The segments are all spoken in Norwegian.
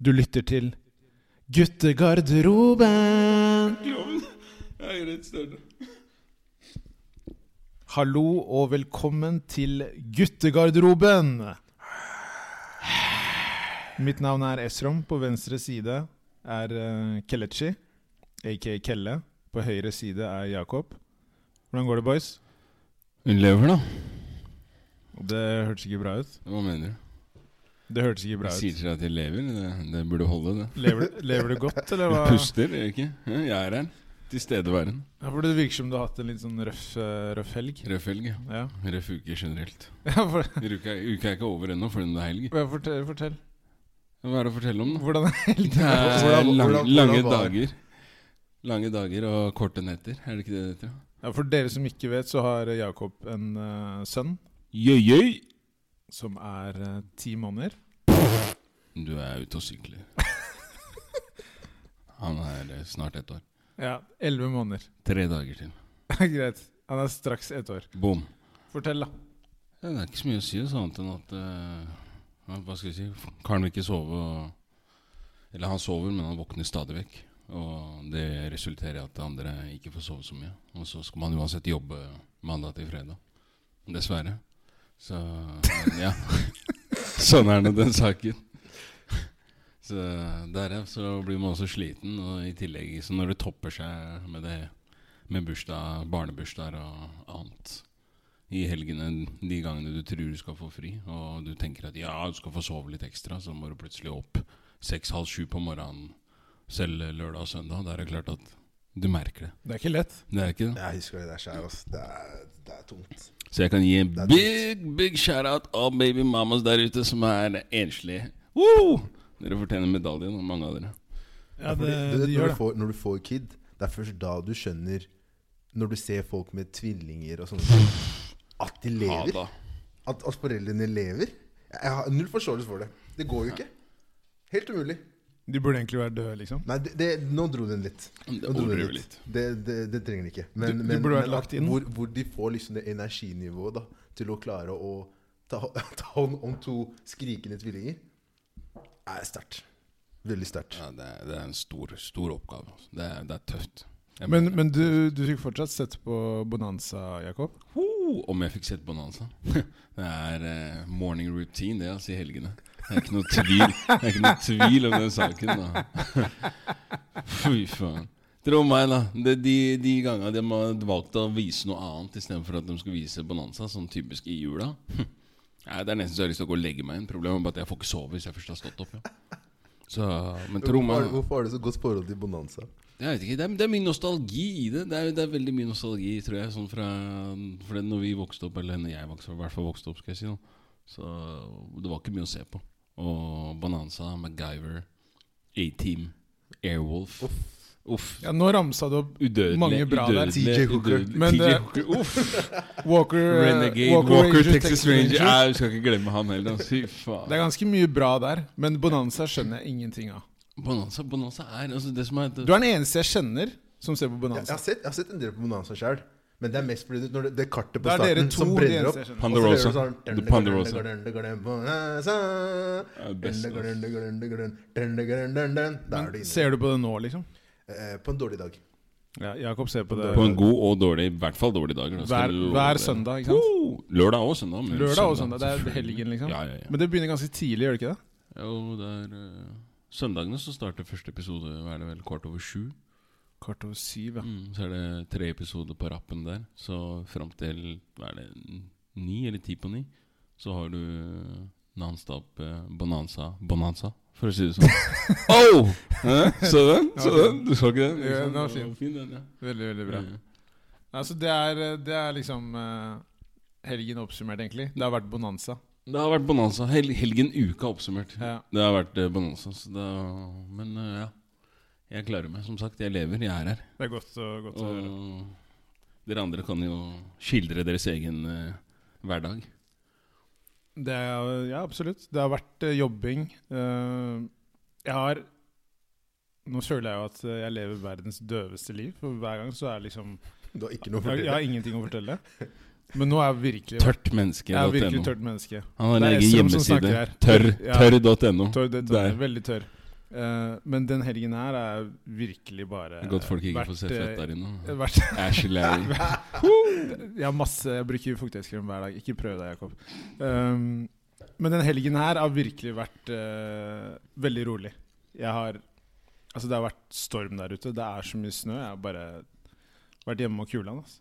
Du lytter til Guttegarderoben. Klovn. Jeg er litt større. Hallo og velkommen til Guttegarderoben. Mitt navn er Esrom. På venstre side er eh, Kelechi, aka Kelle. På høyre side er Jakob. Hvordan går det, boys? Hun lever, da. Det hørtes ikke bra ut. Hva mener du? Det hørtes ikke bra Jeg sier ut. til deg at jeg lever. Det, det burde holde, det. Lever, lever du godt, eller Du hva? puster, gjør du ikke? Ja, Jeg er her. Tilstedeværende. Ja, for Det virker som du har hatt en litt sånn røff, eh, røff helg. Røff helg. ja. Ja. Røff uke generelt. ja for, Uka, uka er ikke over ennå, fordi det er helg. ja, fortell, fortell. Hva er det å fortelle om, da? Hvordan er helgen? Det er Hvordan- lang, hvordan- hvordan lange var det? dager. Lange dager og korte netter. Er det ikke det det heter? Ja, for dere som ikke vet, så har Jakob en eh, sønn Jøyøy! som er eh, ti måneder. Du er ute og sykler. Han er eh, snart ett år. Ja, elleve måneder. Tre dager til. Greit. Han er straks ett år. Bom. Fortell, da. Ja, det er ikke så mye å si altså, annet enn at eh, ja, Hva skal jeg si Karen vil ikke sove. Og, eller han sover, men han våkner stadig vekk. Og det resulterer i at andre ikke får sove så mye. Og så skal man uansett jobbe mandag til fredag. Dessverre. Så men ja. sånn er nå den saken. Så derav så blir man også sliten, og i tillegg så når det topper seg med det med bursdag, barnebursdager og annet i helgene de gangene du tror du skal få fri, og du tenker at ja, du skal få sove litt ekstra, så må du plutselig opp seks-halv sju på morgenen selv lørdag og søndag. Da er det klart at du merker det. Det er ikke lett. Det er ikke det. Jeg husker det der sjæl, ass. Det er, det er tungt. Så jeg kan gi en Det er big, big shout-out av baby mamas der ute som er enslige. Woo! Dere fortjener medaljen, mange av dere. Ja, Fordi det, du vet, det når, gjør du det. får, når du får kid, det er først da du skjønner Når du ser folk med tvillinger og sånne ting, at de Ha lever. da. At, at foreldrene lever. Jeg har null forståelse for det. Det går jo ikke. Helt umulig. De burde egentlig være døde, liksom. Nei, det, det, nå dro den litt. Det Nå dro den overdriver litt. Det, det, det trenger den ikke. Du- du burde vært lagt at- inn. Hvor, hvor de får liksom det energinivået da, til å klare å ta, ta hånd om to skrikende tvillinger, er sterkt. Veldig sterkt. Ja, det, er, det er en stor, stor oppgave. altså. Det er, det er tøft. Jeg Men, mener det. men du, du fikk fortsatt sett på Bonanza, Jakob. Ho, Om jeg fikk sett Bonanza? Det er eh, morning routine, det, altså, i helgene. Det er ikke noe tvil, det er ikke noe tvil om den saken, da. Fy faen. Tro meg, da. Det, de de gangene de har valgt å vise noe annet istedenfor at de skal vise Bonanza, sånn typisk i jula Nei, Det er nesten så jeg har lyst til å gå og legge meg inn. Problemet er bare at jeg får ikke sove hvis jeg først har stått opp. Ja. Så, men tro Hvorfor, meg. hvorfor har du så godt forhold til Bonanza? Jeg vet ikke, det er, det er mye nostalgi i det. Det er, det er veldig mye nostalgi, tror jeg. Sånn fra For det når vi vokste opp, eller når jeg vokste opp, i hvert fall vokste opp, skal jeg si. Da. Så det var ikke mye å se på. Og Bonanza, MacGyver, A-Team, Airwolf. Uff. Ja, nå ramsa du opp Udødelig. Mange bra der. udødelig, TJ Hooker. udødelig. Men TJ det- Hooker. Uff. Walker, eh, Renegade, Walker, Rangers, Texas, Ranger. Nei, vi skal ikke glemme han heller. altså. Fy faen. Det er ganske mye bra der, men Bonanza skjønner jeg ingenting av. Bonanza, Bonanza er altså det som er Du er den eneste jeg kjenner som ser på Jeg, jeg, Bonanza. har sett, jeg har sett en del på Bonanza sjøl, men det er mest fordi det- når det, det kartet på Det er dere starten to, som de brenner eneste opp. jeg skjønner. og så hører du Ponderosa. sånn- The Ponderosa. Bonanza. er best, altså. Da er du inne. Ser du på det nå, liksom? Eh, På en dårlig dag. Ja, Jakob ser på det På en god og dårlig, i hvert fall dårlig dag. da skal hver, jeg love hver det. søndag, ikke sant? Oh, Lørdag og søndag. men Lørdag og søndag. Det er selvfølgelig. helgen, liksom. Ja, ja, ja. Men det begynner ganske tidlig, gjør det ikke det? Jo, det er eh, Søndagene så starter første episode hva er det vel kvart over sju. Kvart over syv, ja. Mm, så er det tre episoder på rappen der. Så fram til hva er det, n- ni eller ti på ni, så har du eh, nonstop eh, bonanza bonanza, for å si det sånn. oh! Hæ? Så den? Så den? Du så ikke den? Ja, den var Ikke sant? fin. den, ja. Veldig, veldig bra. Ja, ja. Altså, det er, det er liksom eh, helgen oppsummert, egentlig. Det har vært bonanza. Det har vært bonanza. Hel helgen, uka oppsummert. Ja. Det har vært eh, bonanza. Så det, men eh, ja. Jeg klarer meg, som sagt. Jeg lever, jeg er her. Det er godt, å- godt å høre. Og dere andre kan jo skildre deres egen eh, hverdag. Det er, ja, absolutt. Det har vært eh, jobbing. Eh, jeg har Nå føler jeg jo at eh, jeg lever verdens døveste liv, for hver gang så er liksom Du har ikke Jeg, noe å jeg fortelle. har ingenting å fortelle. Men nå er jeg virkelig Jeg er virkelig Tørtmenneske.no. tørt menneske. Han har Det er egen Esrom som snakker hjemmeside. her. Tørr. Ja. Tørr.no. Tørr, det, tørr, Der. veldig tørr. Eh, men den helgen her er virkelig bare Godt folk ikke får se vært, fett eh, der inne. vært Æsj, Larry. Jeg har masse Jeg bruker fuktighetskrem hver dag. Ikke prøv deg, Jakob. Ehm, men den helgen her har virkelig vært eh, veldig rolig. Jeg har Altså, det har vært storm der ute. Det er så mye snø. Jeg har bare vært hjemme og kula den. Altså.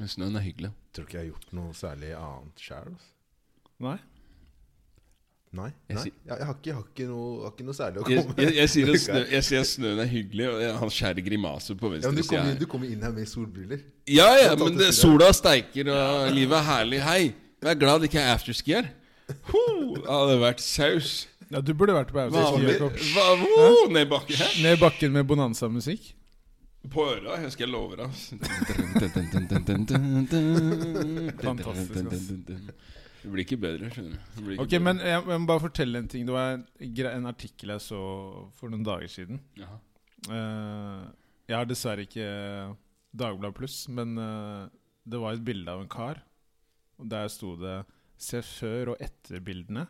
Men snøen er hyggelig. Tror ikke jeg har gjort noe særlig annet sjæl. Nei? Nei. Jeg nei. si- Jeg, jeg, har ikke, jeg, har ikke noe, har ikke noe særlig å Jeg, komme jeg, jeg, sier at snø, jeg sier at snøen er hyggelig, og jeg- han skjærer grimaser på ja, men du, venstresida kommer, her. du kommer inn her med solbriller. Ja, ja, Du har men tatt det, det sola steiker, og livet er herlig. Hei! Vær glad det ikke er afterski her. Ho, det hadde vært saus. Ja, du burde vært på Austria, Vanlig. Jakob. Hva, ho, ned bakke her. Ned i bakken med bonanza-musikk. På øra, jeg skal love deg. altså. Fantastisk, ass. Det blir ikke bedre, skjønner du. Det blir ikke Ok, bedre. men jeg, jeg må bare fortelle en ting. Det var en, gre- en artikkel jeg så for noen dager siden. Ja. Eh, jeg har dessverre ikke eh, Dagbladet Pluss, men eh, det var et bilde av en kar. Og der sto det 'Se før og etter bildene'.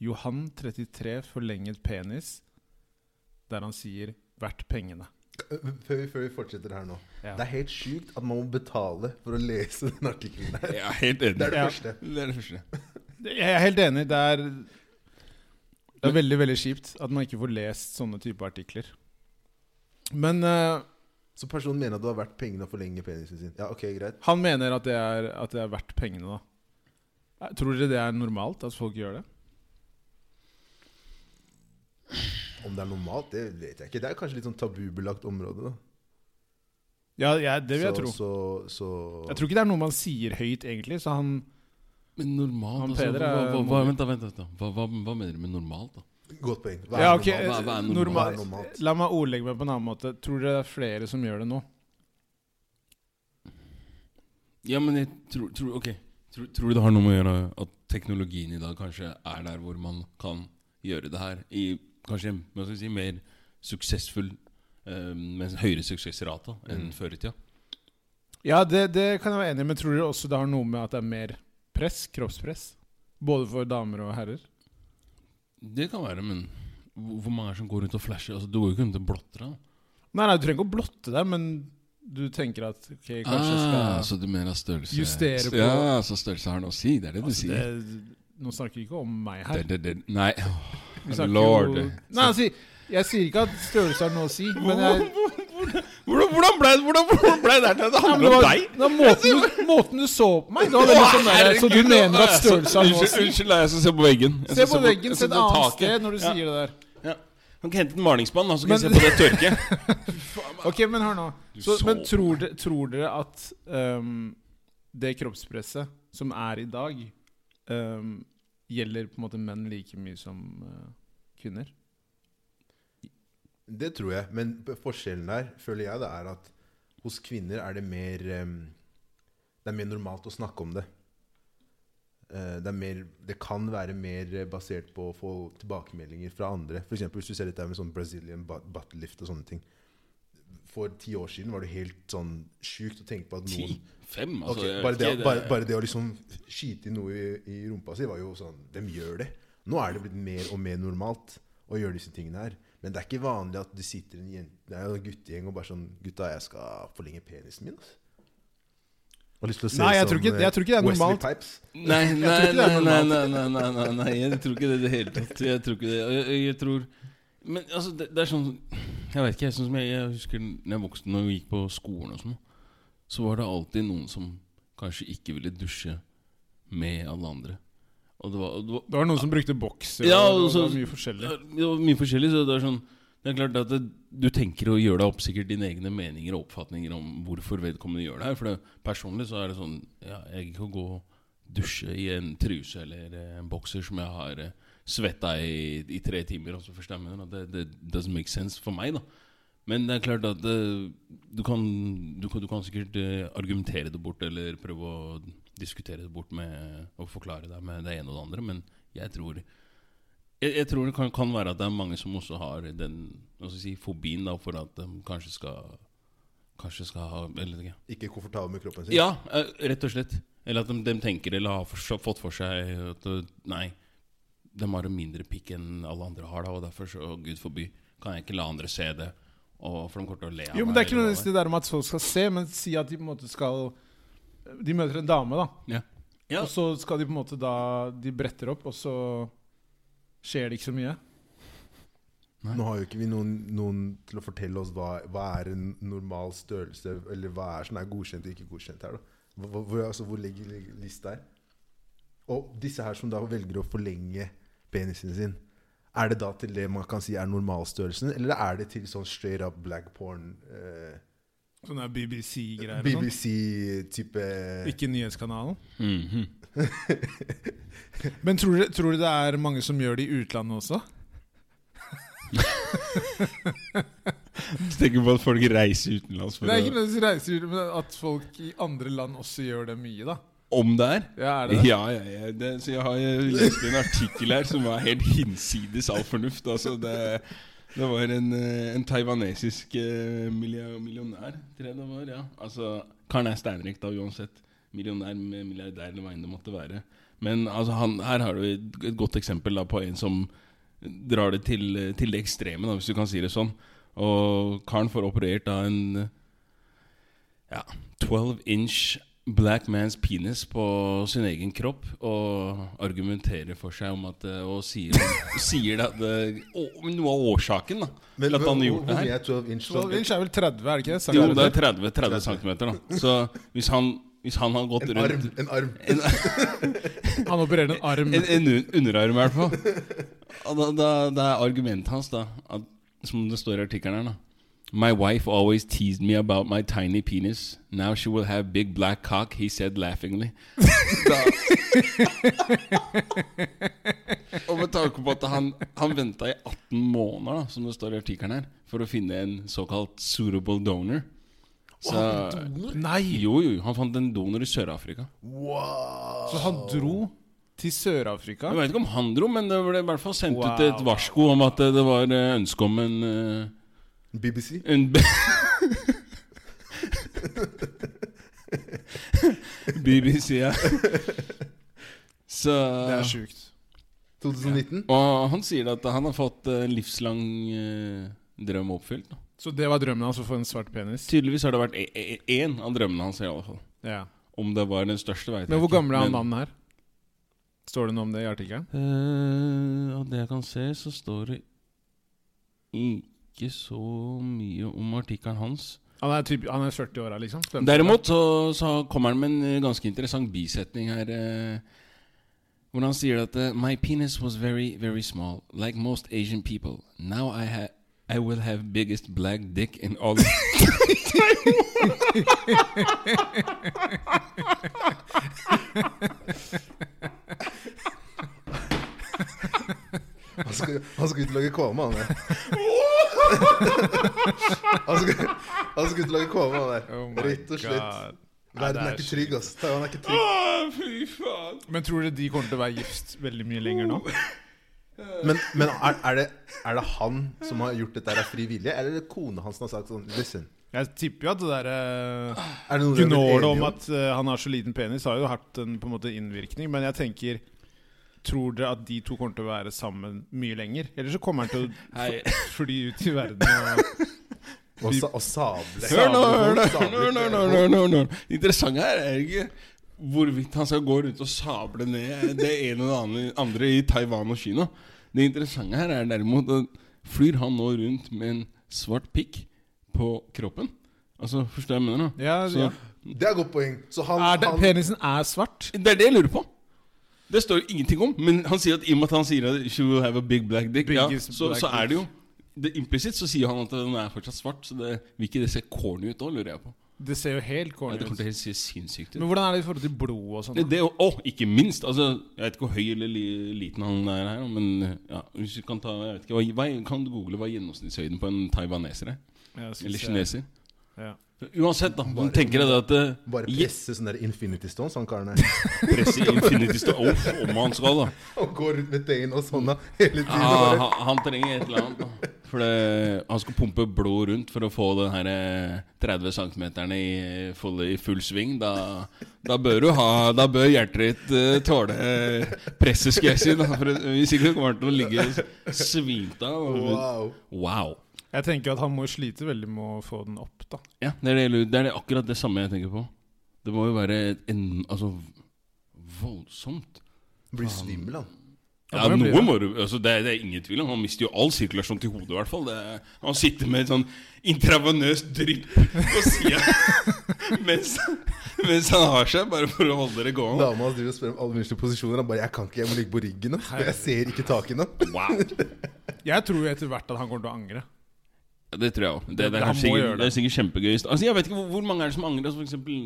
Johan 33 forlenget penis. Der han sier 'Verdt pengene'. Før vi, før vi fortsetter her nå. Ja. Det er helt sjukt at man må betale for å lese den artikkelen her. Jeg er helt enig. Det er det Ja. første. Det er det første. Jeg er helt enig. Det er, det er veldig veldig kjipt at man ikke får lest sånne type artikler. Men eh, Så personen mener at det har vært pengene å forlenge penisen sin. Ja, ok, greit. han mener at det, er, at det er verdt pengene, da. Tror dere det er normalt at folk gjør det? Om det er normalt, det vet jeg ikke. Det er kanskje litt sånn tabubelagt område, da. Ja, jeg, det vil jeg så, tro. Så, så, Jeg tror ikke det er noe man sier høyt, egentlig. Så han Men normalt Han altså, Peder hva, er- hva, hva, Vent, da. vent da, vent da. Hva, hva, hva mener du med normalt, da? Godt poeng. Hva Ja, er ok, normalt? Hva- hva er eh, normalt? Hva er normalt? normalt? La meg ordlegge meg på en annen måte. Tror dere det er flere som gjør det nå? Ja, men jeg tror, tror Ok. Tror, tror du det har noe med å gjøre at teknologien i dag kanskje er der hvor man kan gjøre det her i kanskje hva skal vi si, mer suksessfull eh, Med høyere suksessrate enn Mm. før i tida? Ja, det, det kan jeg være enig i, men tror dere også det har noe med at det er mer press? Kroppspress? Både for damer og herrer? Det kan være, men hvor hvor mange er det som går rundt og flasher? Altså, du går jo ikke rundt og blotter. da Nei, nei, du trenger ikke å blotte deg, men du tenker at ok, kanskje jeg skal Ah, så du mener at størrelse justere st- på- Ja, så størrelse har noe å si. Det er det du altså, sier. det, Nå snakker vi ikke om meg Det, her. det, det, nei, Vi snakker lord. jo Nei, altså, jeg sier ikke at størrelse har noe å si, men jeg Hvordan, hvordan ble hvordan, hvordan ble det her til? Ja, men Det det handler om var, deg! det var måten, du, måten du så på meg! Det var veldig sånn der, så du Herregud, mener at altså, størrelse har noe å unnskyld- si? Unnskyld, jeg skal se på veggen. Jeg Se skal på veggen, jeg se skal et på annet taket. sted når du Ja, sier det der. ja. Han kan hente en malingsmann, han, så kan Men- jeg se på det tørket. Ok, men hør nå. Du Så, så men på tror, de, tror dere at ehm, det kroppspresset som er i dag, ehm, gjelder på en måte menn like mye som eh, kvinner? Det tror jeg, men p- forskjellen der føler jeg det er at hos kvinner er det mer em, Det er mer normalt å snakke om det. Eh, Det, er mer, det kan være mer eh, basert på å få tilbakemeldinger fra andre. For eksempel hvis du ser dette her med sånn Brazilian butt butt lift og sånne ting. For ti år siden var det helt sånn sjukt å tenke på at noen Ti? Fem? Ok, Altså, jeg vet bare, det, ikke, bare, bare det å liksom skyte i noe i, i rumpa si var jo sånn Hvem gjør det? Nå er det blitt mer og mer normalt å gjøre disse tingene her. Men det er ikke vanlig at du sitter en, jente, det er jo en guttegjeng og bare sånn 'Gutta, jeg skal forlenge penisen min.' Altså. Og lyst til å se Nei, jeg sånn, tror ikke- jeg eh, tror ikke det er Wesley normalt. Pipes. Nei, nei, tror ikke det nei, er nei, nei, nei, nei, nei, nei, jeg tror ikke det i det hele tatt. Jeg tror ikke det. Og Jeg, jeg tror Men altså, det, det er sånn Jeg vet ikke, jeg, sånn som jeg, jeg husker når jeg vokste Når jeg gikk på skolen og sånn, så var det alltid noen som kanskje ikke ville dusje med alle andre. Og det var, og det var Det var noen som brukte bokser, Ja, altså- og det så- var mye forskjellig. Det var mye forskjellig, så det er sånn det er klart at det, Du tenker og gjør deg opp sikkert dine egne meninger og oppfatninger om hvorfor vedkommende gjør det her. For det, personlig så er det sånn ja, Jeg kan gå og dusje i en truse eller eh, en bokser som jeg har eh, svetta i, i tre timer, altså, og så først jeg mener at det, det doesn't make sense for meg, da. Men det er klart at eh, du, kan, du, kan, du kan sikkert eh, argumentere det bort eller prøve å diskutere det bort med og forklare deg med det ene og det andre, men jeg tror jeg, jeg tror det kan, kan være at det er mange som også har den hva skal jeg si, fobien da, for at de kanskje skal Kanskje skal ha eller, ikke. Ikke komfortabel med kroppen sin. Ja, eh, rett og slett. Eller at de, de tenker eller har for, fått for seg at eh, Nei, de har jo mindre pikk enn alle andre har, da, og derfor, så, å, gud forby, kan jeg ikke la andre se det. Og for de kommer til å le av Jo, men Det er ikke eller hva nødvendigvis det der med at folk skal se, men si at de på en måte skal De møter en dame, da. Ja. Ja. Og så skal de på en måte da De bretter opp, og så skjer det ikke så mye. Nå har jo ikke vi noen, noen til å fortelle oss hva, hva er en normal størrelse, eller hva er som er godkjent og ikke godkjent her. da. Hva- hva- Hvor, altså, hvor ligger ligger lista her? Og disse her som da velger å forlenge penisen sin, er det da til det man kan si er normalstørrelsen, eller er det til sånn straight up black porn, eh, Sånne BBC-greier. og sånn. BBC-type Ikke nyhetskanalen. Mhm. Men tror du, tror du det er mange som gjør det i utlandet også? Du tenker på at folk reiser utenlands for Det er ikke å nødvendigvis reiser, ut, men at folk i andre land også gjør det mye, da. Om det er? Ja, er det det? Ja, ja, ja. Det, så jeg har eh, lest en artikkel her som var helt hinsides all fornuft. Altså, det, det var en, eh, en taiwanesisk eh, milia- millionær, tror jeg det var. ja. Altså, Karen er steinrik da, uansett. Millionær, med milliardær eller hva enn det måtte være. Men altså, han, her har du et, et godt eksempel da, på en som drar det til, til det ekstreme, da, hvis du kan si det sånn. Og karen får operert da en eh, ja, 12 inch black man's penis på sin egen kropp og argumenterer for seg om at eh, Og sier, sier at eh, å- noe av årsaken da, Men til at han har gjort det Hvor her. mye er 12 inch? sånn Så Lynch er vel 30, er det ikke det? Jo, det er 30, 30 cm, da. Så hvis han, hvis han har gått En rundt arm. En arm. En, Han opererer en arm. en, en un- underarm, i hvert fall. Og Da, da, da er argumentet hans, da, at, som det står i artikkelen her, da My wife always teased me about my tiny penis. Now she will have big black cock, he said laughingly. Da. Og med tanke på at han, han venta i 18 måneder, da, som det står i artikkelen her, for å finne en såkalt suitable donor. Så, Nei! jo, jo, han fant en donor i Sør-Afrika. Wow! Så han dro til Sør-Afrika. Jeg vet ikke om han dro, men det ble i hvert fall sendt Wow. ut et varsko om at det var eh, ønske om en, eh, BBC? en b- BBC, ja. Så Det er sjukt. 2019? Og han sier at han har fått eh, en livslang eh, drøm oppfylt. Da. Så det var drømmen hans, å få en svart penis? Tydeligvis har det vært e- e- én av drømmene hans, i alle fall. Ja. Om det var den største, veit jeg Men hvor ikke, gammel er han men- mannen her? Står det noe om det i artikkelen? Eh, Av det jeg kan se, så står det ikke så mye om artikkelen hans. Han er, typ, han er 40 år, liksom? Stemmer. Derimot så, så kommer han med en eh, ganske interessant bisetning her. eh, Hvor han sier at eh, My penis was very, very small, like most Asian people. Now I, ha I will have biggest black dick in all Han skal, han skal ut og lage kvalme, han der. han, skal, han skal ut og lage kvalme, han der. Oh my Rett og slett. God. Nei, det Verden er ikke sjukt. trygg, ass. Taiwan er ikke trygg. Fy faen! Men tror dere de kommer til å være gift veldig mye lenger nå? Men, men er, er, det, er det han som har gjort dette her av fri vilje, eller er det kona hans som har sagt sånn Listen. Jeg tipper jo at det eh, derre Er det noe dere har blitt Gunålet enige om at eh, han har så liten penis, har jo hatt en på en måte innvirkning. Men jeg tenker Tror dere at de to kommer til å være sammen mye lenger? Eller så kommer han til å Hei. f- fly ut i verden og Og, sa, og sable. Hør nå, hør nå, Sable- hør nå, hør nå, hør nå, hør nå. Det interessante her er ikke hvorvidt han skal gå rundt og sable ned det ene og det andre- andre i Taiwan og Kina. Det interessante her er derimot at flyr han nå rundt med en svart pikk på kroppen? Altså, forstår jeg hva jeg mener? da? ja, ja. Så, Det er et godt poeng. Så han, er det, han Penisen er svart? det er det jeg lurer på. Det står jo ingenting om, men han sier at i og med at han sier at she will have a big black dick, ja, Biggest så, black så er dick. det jo det Implisitt så sier han at den er fortsatt svart, så det, vil ikke det se corny ut da, lurer jeg på. Det ser jo helt Ja, corny det kommer ut. til å se sinnssykt ut. Men hvordan er det i forhold til blod og sånn? Det, det, og, og ikke minst altså, Jeg vet ikke hvor høy eller li, liten han er her, men ja, hvis du kan ta jeg vet ikke, hva, hva, Kan du google hva gjennomsnittshøyden på en taiwaneser er? Jeg synes Eller det- kineser? Ja. Uansett, da. Man tenker det at eh, bare je- presser sånn der Infinity Stones, han karen her. presse Infinity Stone off om han skal, da. Og går rundt med tegn og sånn da, hele tiden. Ah, han, han Ah, trenger et eller annet. da For det, han skulle pumpe blod rundt for å få den her eh, 30 cm i, full- i full sving. Da, da bør du ha Da bør hjertet ditt eh, tåle eh, presset, skal jeg si. Da. For det- hvis ikke så kommer han til å ligge s- svimt av. Wow. Wow. Jeg tenker at han må slite veldig med å få den opp, da. Ja, det er, det, det er det akkurat det samme jeg tenker på. Det må jo være et en, altså, voldsomt. Blir svimmel, han. Ja, Ja, det blir noe det. må du altså det, er- det er ingen tvil om. Han mister jo all sirkulasjon til hodet, i hvert fall. Det, er- han sitter med et sånn intravenøst drypp på sida mens, mens han har seg, bare for å holde det gående. Dama hans driver og spør om alle mulige posisjoner. Han bare 'Jeg kan ikke, jeg må ligge på ryggen nå. Jeg ser ikke taket nå'. Wow. Jeg tror jo etter hvert at han kommer til å angre. Det tror jeg òg. Det, det, Det- er han kanskje må gjøre sikkert- det. det er sikkert kjempegøy. Altså, jeg vet ikke hvor, hvor mange er det som angrer altså, for eksempel,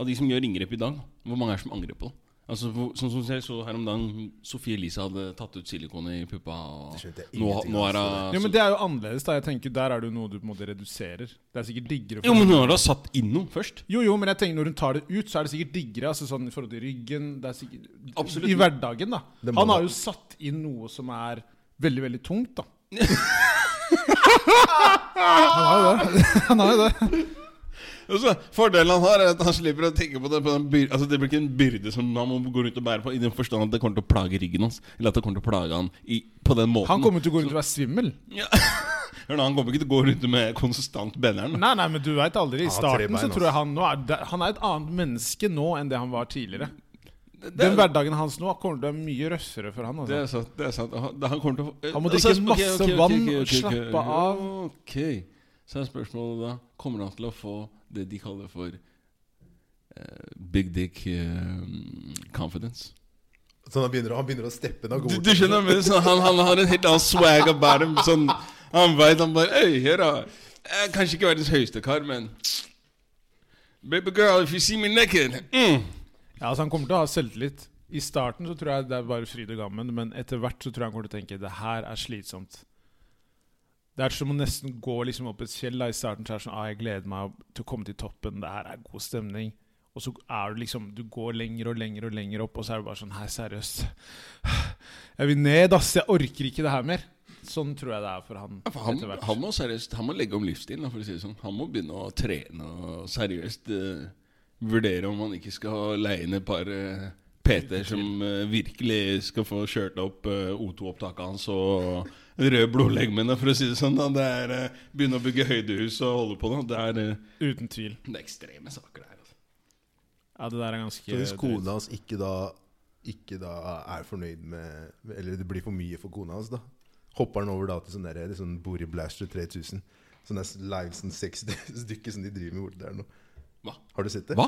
av de som gjør inngrep i dag. Hvor mange er det som angrer på det? Altså, hvor, sånn som jeg så her om dagen, Sofie Elise hadde tatt ut silikon i puppa. Det skjønte Og jeg nå, ingenting nå av, er hun Jo, men det er jo annerledes, da. Jeg tenker Der er det jo noe du på en måte reduserer. Det er sikkert diggere Jo, for men nå har hun satt inn noe først. Jo, jo, men jeg tenker når hun tar det ut, så er det sikkert diggere. Altså sånn i forhold til ryggen det er sikkert, Absolutt. I hverdagen, da. Det må Han har det. jo satt inn noe som er veldig, veldig tungt, da. han har jo det. Han har jo det. Og så, fordelen han har, er at han slipper å tenke på det. På den byr, altså, det blir ikke en byrde som han må gå rundt og bære på, i den forstand at det kommer til å plage ryggen hans. Eller at det kommer til å plage han i, på den måten. Han kommer til å gå rundt og være svimmel. ja. Hør nå, han kommer ikke til å gå rundt med konstant benjern. Nei, nei, men du veit aldri. I Han har tre starten så bein, altså. tror jeg han nå er, det- han er et annet menneske nå enn det han var tidligere. Det- Den hverdagen hans nå kommer til å være mye røffere for han. Det Altså. er sant. det er sant Han det- han kommer til å få- Han må drikke Så er sp- ok, masse ok, ok, vann ok, og ok, ok. slappe av. Ok Så er spørsmålet da Kommer han til å få det de kaller for eh, big dick eh, confidence? Så han begynner, å- han begynner å steppe når han går Du, bort. du skjønner men sånn, han, han har en helt annen swag about him. Sånn, han veit han bare Øy, hør da. Jeg er kanskje ikke verdens høyeste kar, men Baby girl, if you see me naked mm. Ja, altså, han kommer til å ha selvtillit. I starten så tror jeg det er bare fryd og gammen, men etter hvert så tror jeg han kommer til å tenke det her er slitsomt. Det er som å nesten gå liksom opp et fjell. Da. I starten så er det sånn ah, jeg gleder meg til å komme til toppen, det her er god stemning. Og så er du liksom Du går lenger og lenger og lenger opp, og så er det bare sånn Hei, seriøst. Jeg vil ned, ass. Jeg orker ikke det her mer. Sånn tror jeg det er for han. Ja, for han, etter hvert. han må seriøst Han må legge om livsstilen, da, for å si det sånn. Han må begynne å trene og seriøst eh, vurdere om han ikke skal leie inn et par eh, PT-er som eh, virkelig skal få kjørt opp eh, O2-opptaket hans og røde blodlegemene, for å si det sånn. Da. Det er eh, Begynne å bygge høydehus og holde på. Da. Det, er, eh, Uten tvil. det er ekstreme saker, det her. Altså. Ja, det der er ganske Så hvis drøyt. kona hans ikke da, ikke da er fornøyd med Eller det blir for mye for kona hans, da. Hopper han over da til sånn der, det er sånn Bori Blaster 3000. Sånn der live sånn 60 stykker som de driver med borti der nå. Hva? Har du sett det? Hva?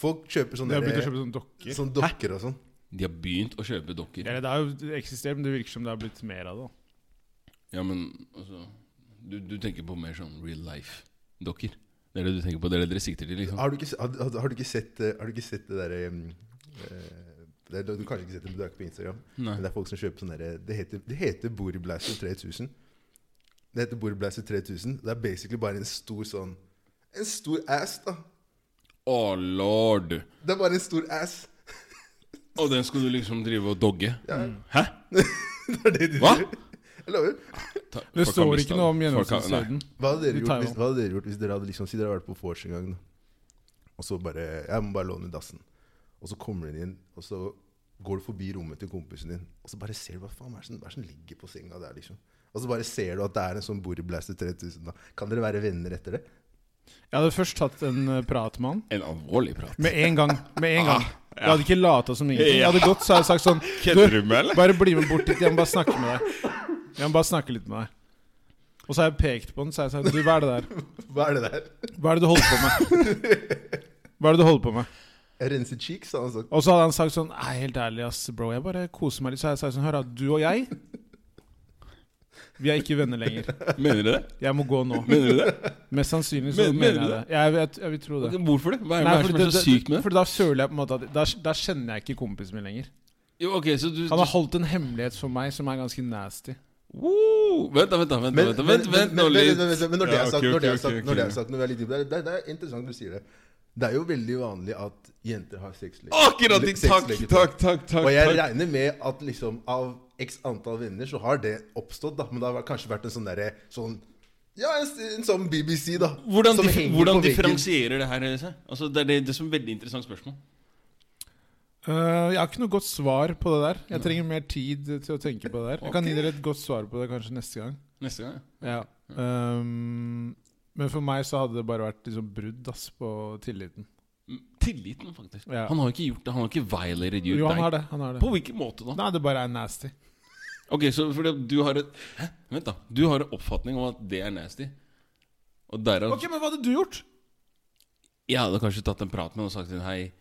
Folk kjøper sånne De har begynt å der- kjøpe sånne dokker. sånn dokker og sånn. De har begynt å kjøpe dokker. Eller det har jo eksistert, men det virker som det har blitt mer av det. da. Ja, men altså Du, du tenker på mer sånn real life-dokker? Det er det du tenker på? Det er det dere sikter til? liksom Har du ikke, se- har, har, har du ikke sett eh, Har du ikke sett det derre mm, eh, det er, du har kanskje ikke sett det, men du er ikke på Instagram. Nei. Men det er folk som kjøper sånne der, Det heter, det heter Bori Blaster 3000. Det heter Bori Blaster 3000. Det er basically bare en stor sånn En stor ass, da. Å, lord! Det er bare en stor ass. Og den skal du liksom drive og dogge? Ja. Hæ? Det er det de Hva? gjør. Jeg lover. Ta- Det folk har står mistet ikke noe om det. Folk har- gjennomsnittshøyden. Hva hadde dere I gjort hvis, Taiwan. hva hadde dere, gjort hvis dere hadde liksom, si dere hadde vært på vors en gang, da. og så bare Jeg må bare låne dassen. Og så kommer du inn, og så går du forbi rommet til kompisen din, og så bare ser du hva faen hva er det som, hva er det som ligger på senga der, liksom. Og så bare ser du at det er en sånn Boriblaster 3000. da. Kan dere være venner etter det? Jeg hadde først tatt en eh, prat med han. Nei. En alvorlig prat. Med en gang. Med Ah, en gang. Jeg hadde ikke lata som ingenting. Jeg hadde gått så hadde jeg sagt sånn Kødder du med, eller? bare bli med bort dit. Jeg må bare snakke med deg. Jeg må bare snakke litt med deg. Og så har jeg pekt på den, så har jeg sagt Du, hva er det der? Hva er det der? Hva er det du holder på med? Hva er det du holder på med? Jeg renser cheeks, sa han sånn. Og så hadde han sagt sånn Nei, helt ærlig, ass, bro. Jeg bare koser meg litt. Så hadde jeg sagt sånn Hør, da. Du og jeg, vi er ikke venner lenger. Mener du det? Jeg må gå nå. Mener du det? Mest sannsynlig så Men- mener mener jeg du det. Jeg, jeg, jeg vil tro det. Hvorfor det? Hva Nei, er hva er det fordi som er så sykt med det? fordi da føler jeg på en måte at Da, da kjenner jeg ikke kompisen min lenger. Jo, ok, så du, Han du har holdt en hemmelighet for meg som er ganske nasty. Woo! Vent, da, vent, da. Vent, vent, vent, vent nå men- litt. men- men- men når det Ja, er sagt, ok, når det er ok, sagt, ok, når det er ok. sagt, når vi er litt dypere, det, er- det er interessant du sier det. Det er jo veldig vanlig at jenter har sexleketøy. Akkurat! Takk, takk, takk. takk, Og jeg takk. regner med at liksom av x antall venner, så har det oppstått, da. Men det har kanskje vært en sånn derre sånn Ja, en, en sånn BBC, da. Hvordan, som dif henger hvordan på veggen. differensierer det her seg? Altså, det er det, det som er veldig interessant spørsmål. Eh, jeg har ikke noe godt svar på det der. Jeg trenger mer tid til å tenke på det der. Jeg kan gi dere et godt svar på det kanskje neste gang. Neste gang, ja. Ja. Ehm, men for meg så hadde det bare vært liksom brudd ass, på tilliten. Mm, Tilliten, faktisk. Ja. Han har jo ikke gjort det. Han har ikke violated you. Jo, han deg. har det. Han har det. På hvilken måte da? Nei, det bare er nasty. Ok, så fordi du har et Hæ? Vent, da. Du har en oppfatning om at det er nasty. Og derav Ok, Men hva hadde du gjort? Jeg hadde kanskje tatt en prat med han og sagt til han, Hei,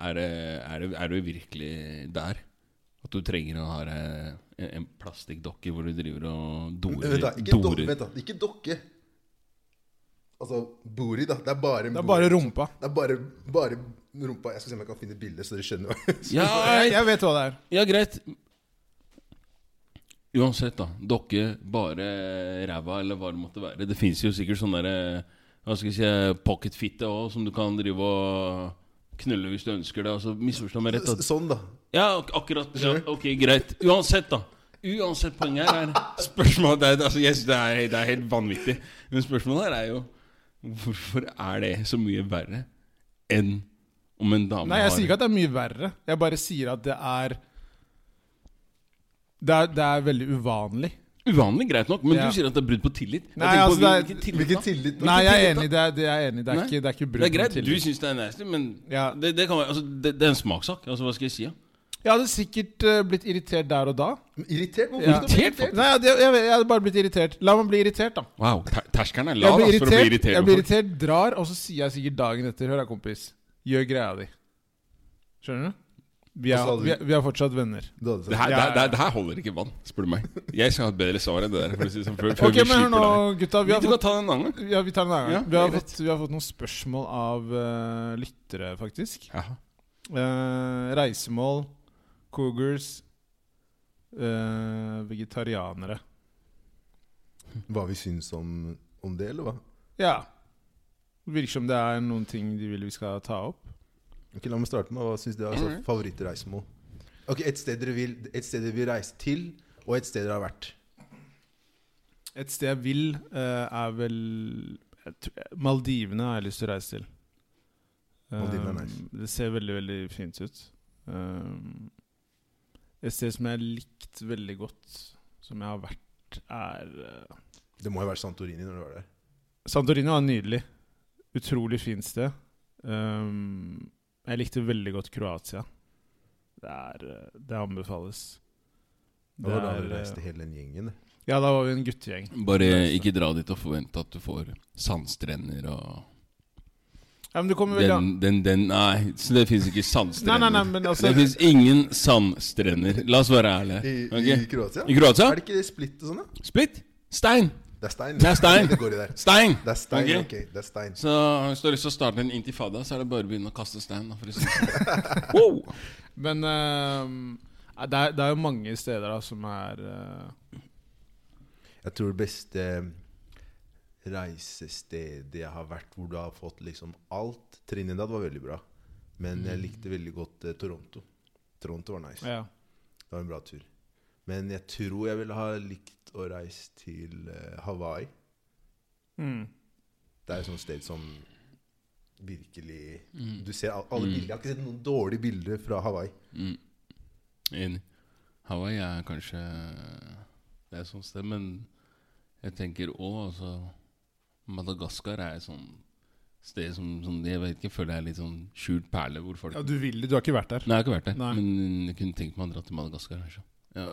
er, det- er, det- er du virkelig der? At du trenger å ha eh, en, en plastikkdokke hvor du driver og dorer Vent, da. Ikke, do, dorer. vent da. ikke dokke. Altså Bori, da. Det er bare en Det er bori. bare rumpa. Det er bare, bare rumpa. Jeg skal se om jeg kan finne et bilde, så dere skjønner. hva- Ja, Jeg, jeg vet hva det er. Ja, greit. Uansett, da. Dokke, bare ræva, eller hva det måtte være. Det fins jo sikkert sånne derre Hva skal jeg si pocketfitte òg, som du kan drive og knulle hvis du ønsker det. Altså, Misforstå meg rett. S- Da. sånn, da. Ja, ak akkurat. Ja, ok, greit. Uansett, da. Uansett, poenget her er Spørsmålet er, altså, jeg synes det, er, det er helt vanvittig. Men spørsmålet her er jo Hvorfor er det så mye verre enn om en dame Nei, jeg sier har ikke at det er mye verre. Jeg bare sier at det er Det er, det er veldig uvanlig. Uvanlig, greit nok, men Ja. du sier at det er brudd på tillit. Jeg Nei, tenker på altså, det er- hvilken Hvilken tillit, da? tillit? Nei, jeg er Hvilken tillit, enig. Det er, det er, jeg enig. Det er Nei. ikke, det er ikke Det er brudd på greit, du tillit. syns det er nasty, men Ja. det, det, kan være, altså, det, det er en smakssak. Altså, hva skal jeg si? Ja? Jeg hadde sikkert eh, blitt irritert der og da. da? Irritert? Hvorfor Ja. skal du bli Irritert, irritert? Nei, jeg, jeg, jeg hadde bare blitt irritert. La meg bli irritert, da. Wow, ter terskelen er Jeg lav blir ass, for å altså bli irritert. irritert, jeg blir over folk. irritert drar, og så sier jeg sikkert dagen etter Hør da, kompis. Gjør greia di. Skjønner du? Vi Og så er, hadde vi vi- er, vi er fortsatt venner. Du hadde sagt- Det her, Ja, det, ja, her- det, her- det her holder ikke vann, spør du meg. Jeg skal ha et bedre svar enn det der. For å si det sånn, før, før Ok, men vi hør nå, slipper gutta. deg. Vi har Du kan fått, ta den en annen gang. ja, vi tar en annen Ja, gang. Vi har det er fått, vi har fått noen spørsmål av eh, lyttere, faktisk. Jaha. Eh, reisemål, cougars, eh, vegetarianere. Hva vi syns om, om det, eller hva? Ja. Virker som det er noen ting de vil vi skal ta opp. Ok, La meg starte med hva syns dere er altså, Mhm. Alright. favorittreisemål. Ok, et sted dere vil Et sted dere vil reise til, og et sted dere har vært. Et sted jeg vil, eh, er vel jeg tror- Maldivene har jeg lyst til å reise til. Maldivene er Um, nice. Det ser veldig, veldig fint ut. Um, et sted som jeg har likt veldig godt, som jeg har vært, er eh, Det må jo være Santorini når du var der. Santorini var nydelig. Utrolig fint sted. Um, jeg likte veldig godt Kroatia. Det, er, eh, det anbefales. Da var da Det er, dere eh, reiste hele den gjengen. det. Ja, da var vi en guttegjeng. Bare ikke dra dit og forvente at du får sandstrender og Ja, men du kommer veldig an Den, den, den Nei, så det fins ikke Nei, sandstrender. nei, nei, men altså det fins ingen sandstrender. La oss være ærlige. I, i ok? Kroatia? I Kroatia? Er det ikke det splitt og sånn, da? Splitt? Stein! Det er stein. Det er stein. det går i der. Stein! Det er stein, Ok. ok. Det er stein. Så hvis du har lyst til å starte en intifada, så er det bare å begynne å kaste stein. Da, for å si. det. wow. Men eh, det, er, det er jo mange steder da som er eh, Jeg tror det beste reisestedet jeg har vært hvor du har fått liksom alt Trinidad var veldig bra. Men jeg likte veldig godt eh, Toronto. Toronto var nice. ja. Det var en bra tur. Men jeg tror jeg ville ha likt å reise til eh, Hawaii. mm. Det er et sånt sted som virkelig Mm. sånn. Du ser al- alle bilder. Jeg har ikke sett noen dårlige bilder fra Hawaii. mm. Enig. Hawaii er kanskje Det er et sånt sted, men jeg tenker òg altså Madagaskar er et sånt sted som, som jeg vet ikke, jeg føler jeg er litt sånn skjult perle hvor folk ja, du vil det. Du har ikke vært der. Nei, jeg har ikke vært der, Nei. men jeg kunne tenkt meg å dra til Madagaskar. Kanskje. Ja,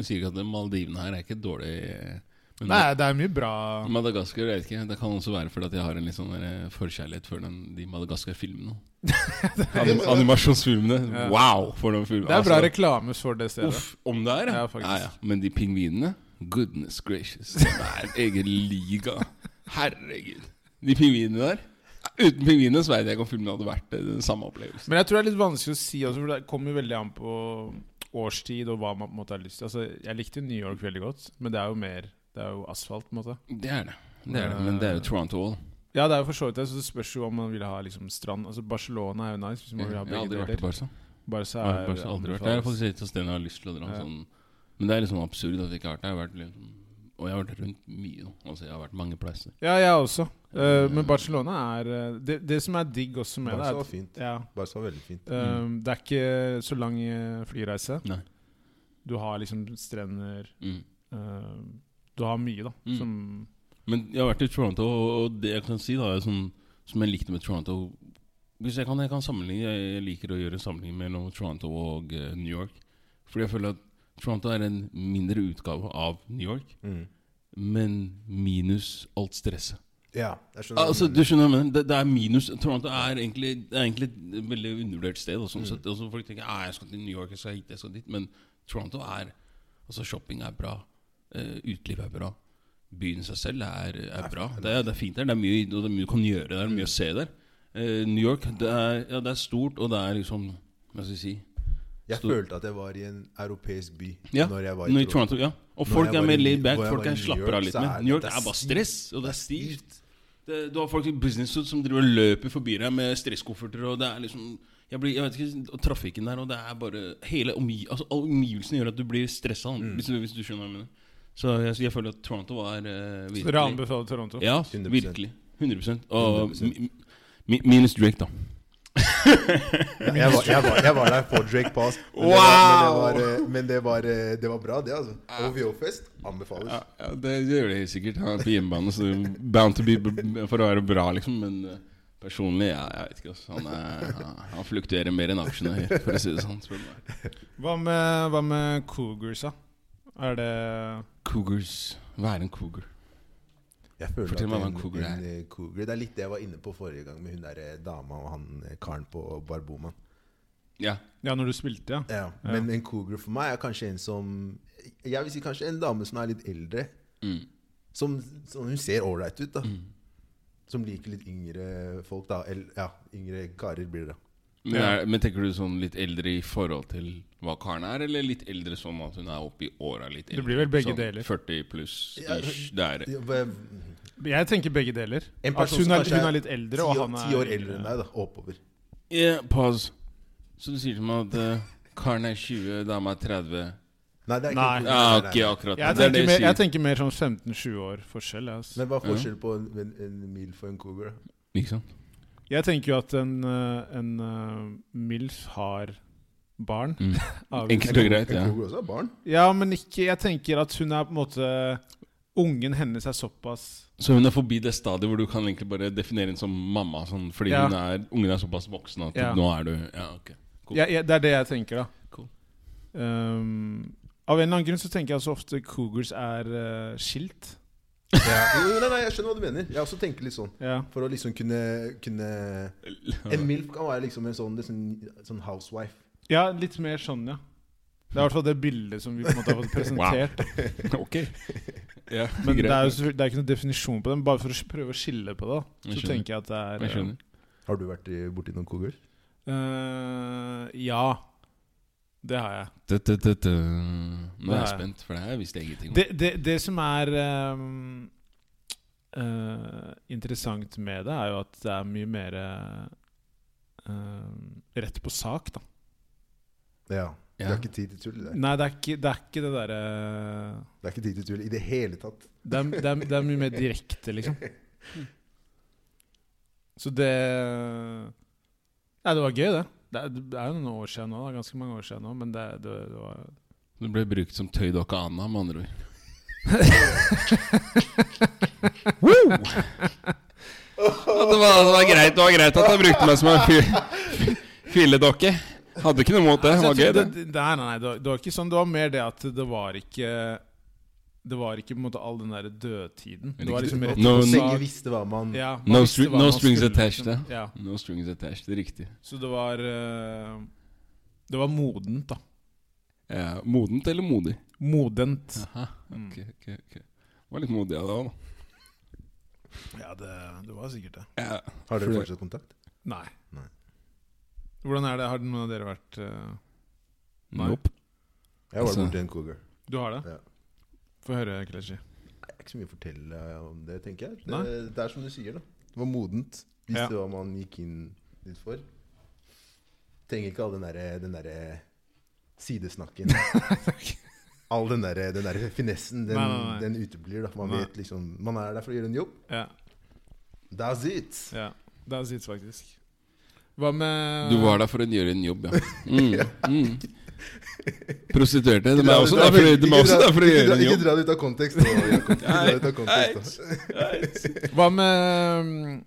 jeg sier ikke at det- Maldivene her er ikke dårlig men Nei, det er mye bra Madagaskar, jeg vet ikke. Det kan også være fordi at jeg har en litt sånn der forkjærlighet for den, de Madagaskar-filmene. Anim animasjonsfilmene. Ja. Wow! For noen filmer. Det er bra Altså, reklame for det stedet. Uff, om det er, Ja, faktisk. ja, ja. Men de pingvinene, goodness gracious, det er en egen liga. Herregud. De pingvinene der. Uten pingvinene så vet jeg ikke om filmen hadde vært eh, den samme opplevelsen. Men jeg tror det er litt vanskelig å si også, for det kommer jo veldig an på årstid og hva man på en måte har lyst til. Altså, jeg likte New York veldig godt, men det er jo mer Det er jo asfalt, på en måte. Det er det. det, er det. Men det er jo Toronto òg. Ja, det er jo for så vidt det, så det spørs jo om man vil ha liksom strand. Altså, Barcelona er jo nice hvis man Jeg vil ha har aldri begge vært i deler. Barca. Barca Jeg har er Barca aldri vært. Det er faktisk et av stedene jeg har lyst til å dra. Ja. Sånn Men det er liksom absurd at jeg ikke har vært der. Jeg har vært liksom, og jeg har vært rundt mye. nå. Altså, jeg har vært mange plasser. Ja, jeg også. Eh, men Barcelona er eh, det, det som er digg også med Barca var det, fint. er at ja, Barca var veldig Mm. fint. eh, det er ikke så lang eh, flyreise. Nei. Du har liksom strender Mm. eh, Du har mye, da, Mm. som Men jeg har vært i Toronto, og- og det jeg kan si, da, er sånn, som jeg likte med Toronto Hvis jeg kan, jeg kan sammenligne Jeg liker å gjøre sammenligning mellom Toronto og eh, New York. Fordi jeg føler at Toronto er en mindre utgave av New York, Mm. men minus alt stresset. Ja, jeg skjønner. hva Altså, du du skjønner hva jeg mener. Det, det er minus Toronto er egentlig, det er egentlig et veldig undervurdert sted. Og Mm. sånn sett. Altså, folk tenker at jeg skal til New York, jeg skal hit, jeg skal dit. Men Toronto er Altså, shopping er bra. Uh, uteliv er bra. Byen i seg selv er, er bra. Det er, det er fint der. Det er mye, og det er mye du kan gjøre der. Mye å se der. Eh, New York, det er, ja, det er stort, og det er liksom Hva skal jeg si Jeg Stor- følte at jeg var i en europeisk by ja. når jeg var Nå i Toronto. Ja. Og Når folk jeg er var mer i- laid back. når jeg Folk var i er New slapper York, av litt så mer. er New York det- det er er bare stivt. stress, og det er stivt. Det, du har folk i businesssuit som driver og løper forbi deg med stresskofferter, og det er liksom jeg blir, jeg vet ikke, og Trafikken der, og det er bare Hele omgi, altså, alle omgivelsene gjør at du blir stressa, Mm. hvis, du- hvis du skjønner hva jeg mener. Så jeg, så jeg føler at Toronto var eh, Så Dere virkelig anbefaler Toronto? Ja, 100%. virkelig. 100 Og 100%. mi- mi- minus Drake, da. Ja, Jeg, var- jeg, var- jeg var der på Drake Pass. Men, det, var, men, det, var, eh, men det, var, eh, det var bra, det, altså. OVO-fest anbefales. Ja, ja det, det gjør det helt sikkert. Han er på hjemmebane, så bound to be b- for å være bra, liksom. Men eh, personlig, ja, jeg vet ikke. Altså. Han, er, han- han fluktuerer mer enn aksjene, her, for å si det sånn. spør du meg. Hva, med, hva med Cougars, da? Er det Cougars. Hva er en cougar? Jeg føler Fortell meg at hva en- en cougar en, eh, cougar- Det er litt det jeg var inne på forrige gang med hun der eh, dama og han eh, karen på Barboma. Ja. Ja, når du spilte, ja? Ja, Men en cougar for meg er kanskje en som Jeg vil si kanskje en dame som er litt eldre. Mm. Som, som hun ser ålreit ut, da. Som liker litt yngre folk, da. El, ja, yngre karer blir det. da. Men, er, men tenker du sånn litt eldre i forhold til hva karen er, eller litt eldre som at hun er oppe i åra litt eldre? Det blir vel begge sånn deler. 40 pluss Ja, ish. Det er Ja, hva- Jeg tenker begge deler. En At person hun som er, kanskje hun er er litt Ti eldre, og år, han er ti år eldre enn deg, da. Oppover. yeah, Pause. Så du sier til meg at eh, karen er 20, dama er 30? Nei, det er ikke Nei. Ja, en cougar, nei, Ah, ok, nei. akkurat. Jeg det er det tenker, mer, sier. jeg tenker mer sånn 15-20 år forskjell. jeg, Altså. Men hva er forskjellen på en, en, en mil for en cougar? da? Ikke sant? Jeg tenker jo at en, eh, en eh, MILF har barn. Mm. Av- Enkelt og greit, ja. En cougar også har barn. Ja, men ikke Jeg tenker at hun er på en måte Ungen hennes er såpass Så hun er forbi det stadiet hvor du kan egentlig bare definere henne som mamma? Sånn, fordi Ja. hun er, ungen er såpass voksen at Ja. nå er du Ja, ok. Cool. jeg, jeg, Det er det jeg tenker, da. Cool. Um, av en eller annen grunn så tenker jeg så ofte cougars er eh, skilt. Jo, jo, nei, nei, jeg skjønner hva du mener. Jeg også tenker litt sånn. Ja. For å liksom kunne, kunne En MILF kan være liksom en sånn, liksom, sånn housewife. ja, litt mer sånn, ja. Det er i hvert fall det bildet som vi på en måte har fått presentert. ok. Ja, Men det greit. er jo selvfølgelig- det er ikke noen definisjon på den. Bare for å s- prøve å skille på det, da, Jeg så skjønner. tenker jeg at det er Jeg skjønner. Har du vært i- borti noen cougar? eh, Ja. Det har jeg. Tø, tø, tø, tø. Nå er jeg Nei. spent, for det her visste jeg ingenting om. Det, det, det som er ehm, eh, interessant med det, er jo at det er mye mer ehm, rett på sak, da. Ja. Det Ja. er ikke tid til tull. Det, Nei, det er ikke det, er ikke det derre det er ikke tid til tull i det hele tatt. det, er- det, er- det er mye mer direkte, liksom. Så det Nei, det var gøy, det. Det er, det er jo noen år siden nå, da, ganske mange år siden nå, men det, det, det var Det ble brukt som tøydokke av Anna, med andre ord. Ja, det, var, det, var greit, det var greit at jeg brukte meg som en fi- filledokke. Hadde ikke noe mot det. Det var gøy, det. Nei, nei, nei, det var, det var ikke sånn. Det var mer det at det var ikke Det var ikke på en måte all den der dødtiden. Det var liksom rett No- på Så sak. lenge visste hva man Ja, No man visste stri- hva no man strings skulle, attached, liksom. ja. No strings attached, det er riktig. Så det var eh, Det var modent, da. Ja, modent eller modig? Modent. Mm. Aha, ok, ok, ok Det var litt modig av deg, da. Ja, det, det var sikkert det. Ja. Har dere For- fortsatt kontakt? Nei. Nei. Hvordan er det? Har noen av dere vært eh, Nei. Nope. Jeg var Altså- borti en cougar. Du har det? Ja. Få høre, Klechi. Nei, Det er ikke så mye å fortelle eh, om det, tenker jeg. Nei. Det, det er som du sier, da. Det var modent. Visste Ja. hva man gikk inn dit for. Trenger ikke all den derre den der sidesnakken. all den der, den der finessen, den, Nei, nei, nei. den uteblir. da Man Nei. vet liksom Man er der for å gjøre en jobb. Ja, That's it! ja. Det er sitt, faktisk. Hva med Du var der for å gjøre en jobb, ja. Mm, mm. Prostituerte. De er også Ikke dra- der for, de er ikke også dra- der for å ikke gjøre dra- en Ikke jobb. dra det ut av kontekst. nå, Jakob. Ikke dra det ut av kontekst. da. Hva med um, Men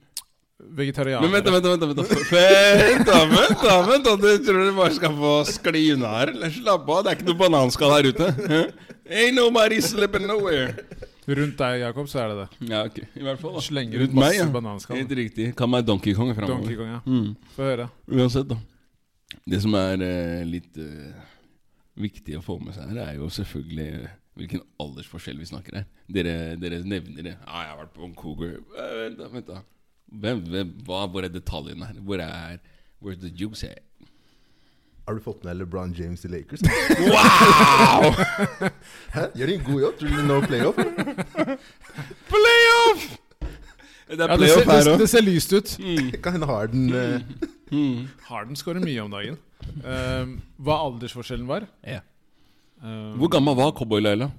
vent, da, vegetarianere? vent, da, vent, da, vent, da. Vent, da, vent, da, vent da. Du tror du bare skal få skli unna her? eller? Slapp av, det er ikke noe bananskall her ute. Hæ? Ain't nobody slipping nowhere. Rundt deg, Jakob, så er det det. Ja, ok, i hvert fall da Slenger Rundt ut masse meg, ja. bananskall. Helt riktig. Kall meg Donkey Kong Donkey framover. Kong, ja. Mm. Få høre. Uansett, da. Det som er eh, litt eh, viktig å få med seg her, er jo selvfølgelig eh, hvilken aldersforskjell vi snakker her. Dere, dere nevner det. Ja, 'Jeg har vært på Vancouver.' Eh, Vent, da. vent da hvem, hvem, hva, Hvor er detaljene her? Hvor er Where's the juice here? Har du fått med LeBron James i Lakers? Wow! Hæ? Gjør de en god jobb? Tror du no playoff? eller? Playoff! Det er Ja, det, ser, playoff her det, òg. det ser lyst ut. Kan hende Harden eh, Mm, Harden skårer mye om dagen. Um, hva aldersforskjellen var? Ja. Um, Hvor gammel var Cowboy-Laila?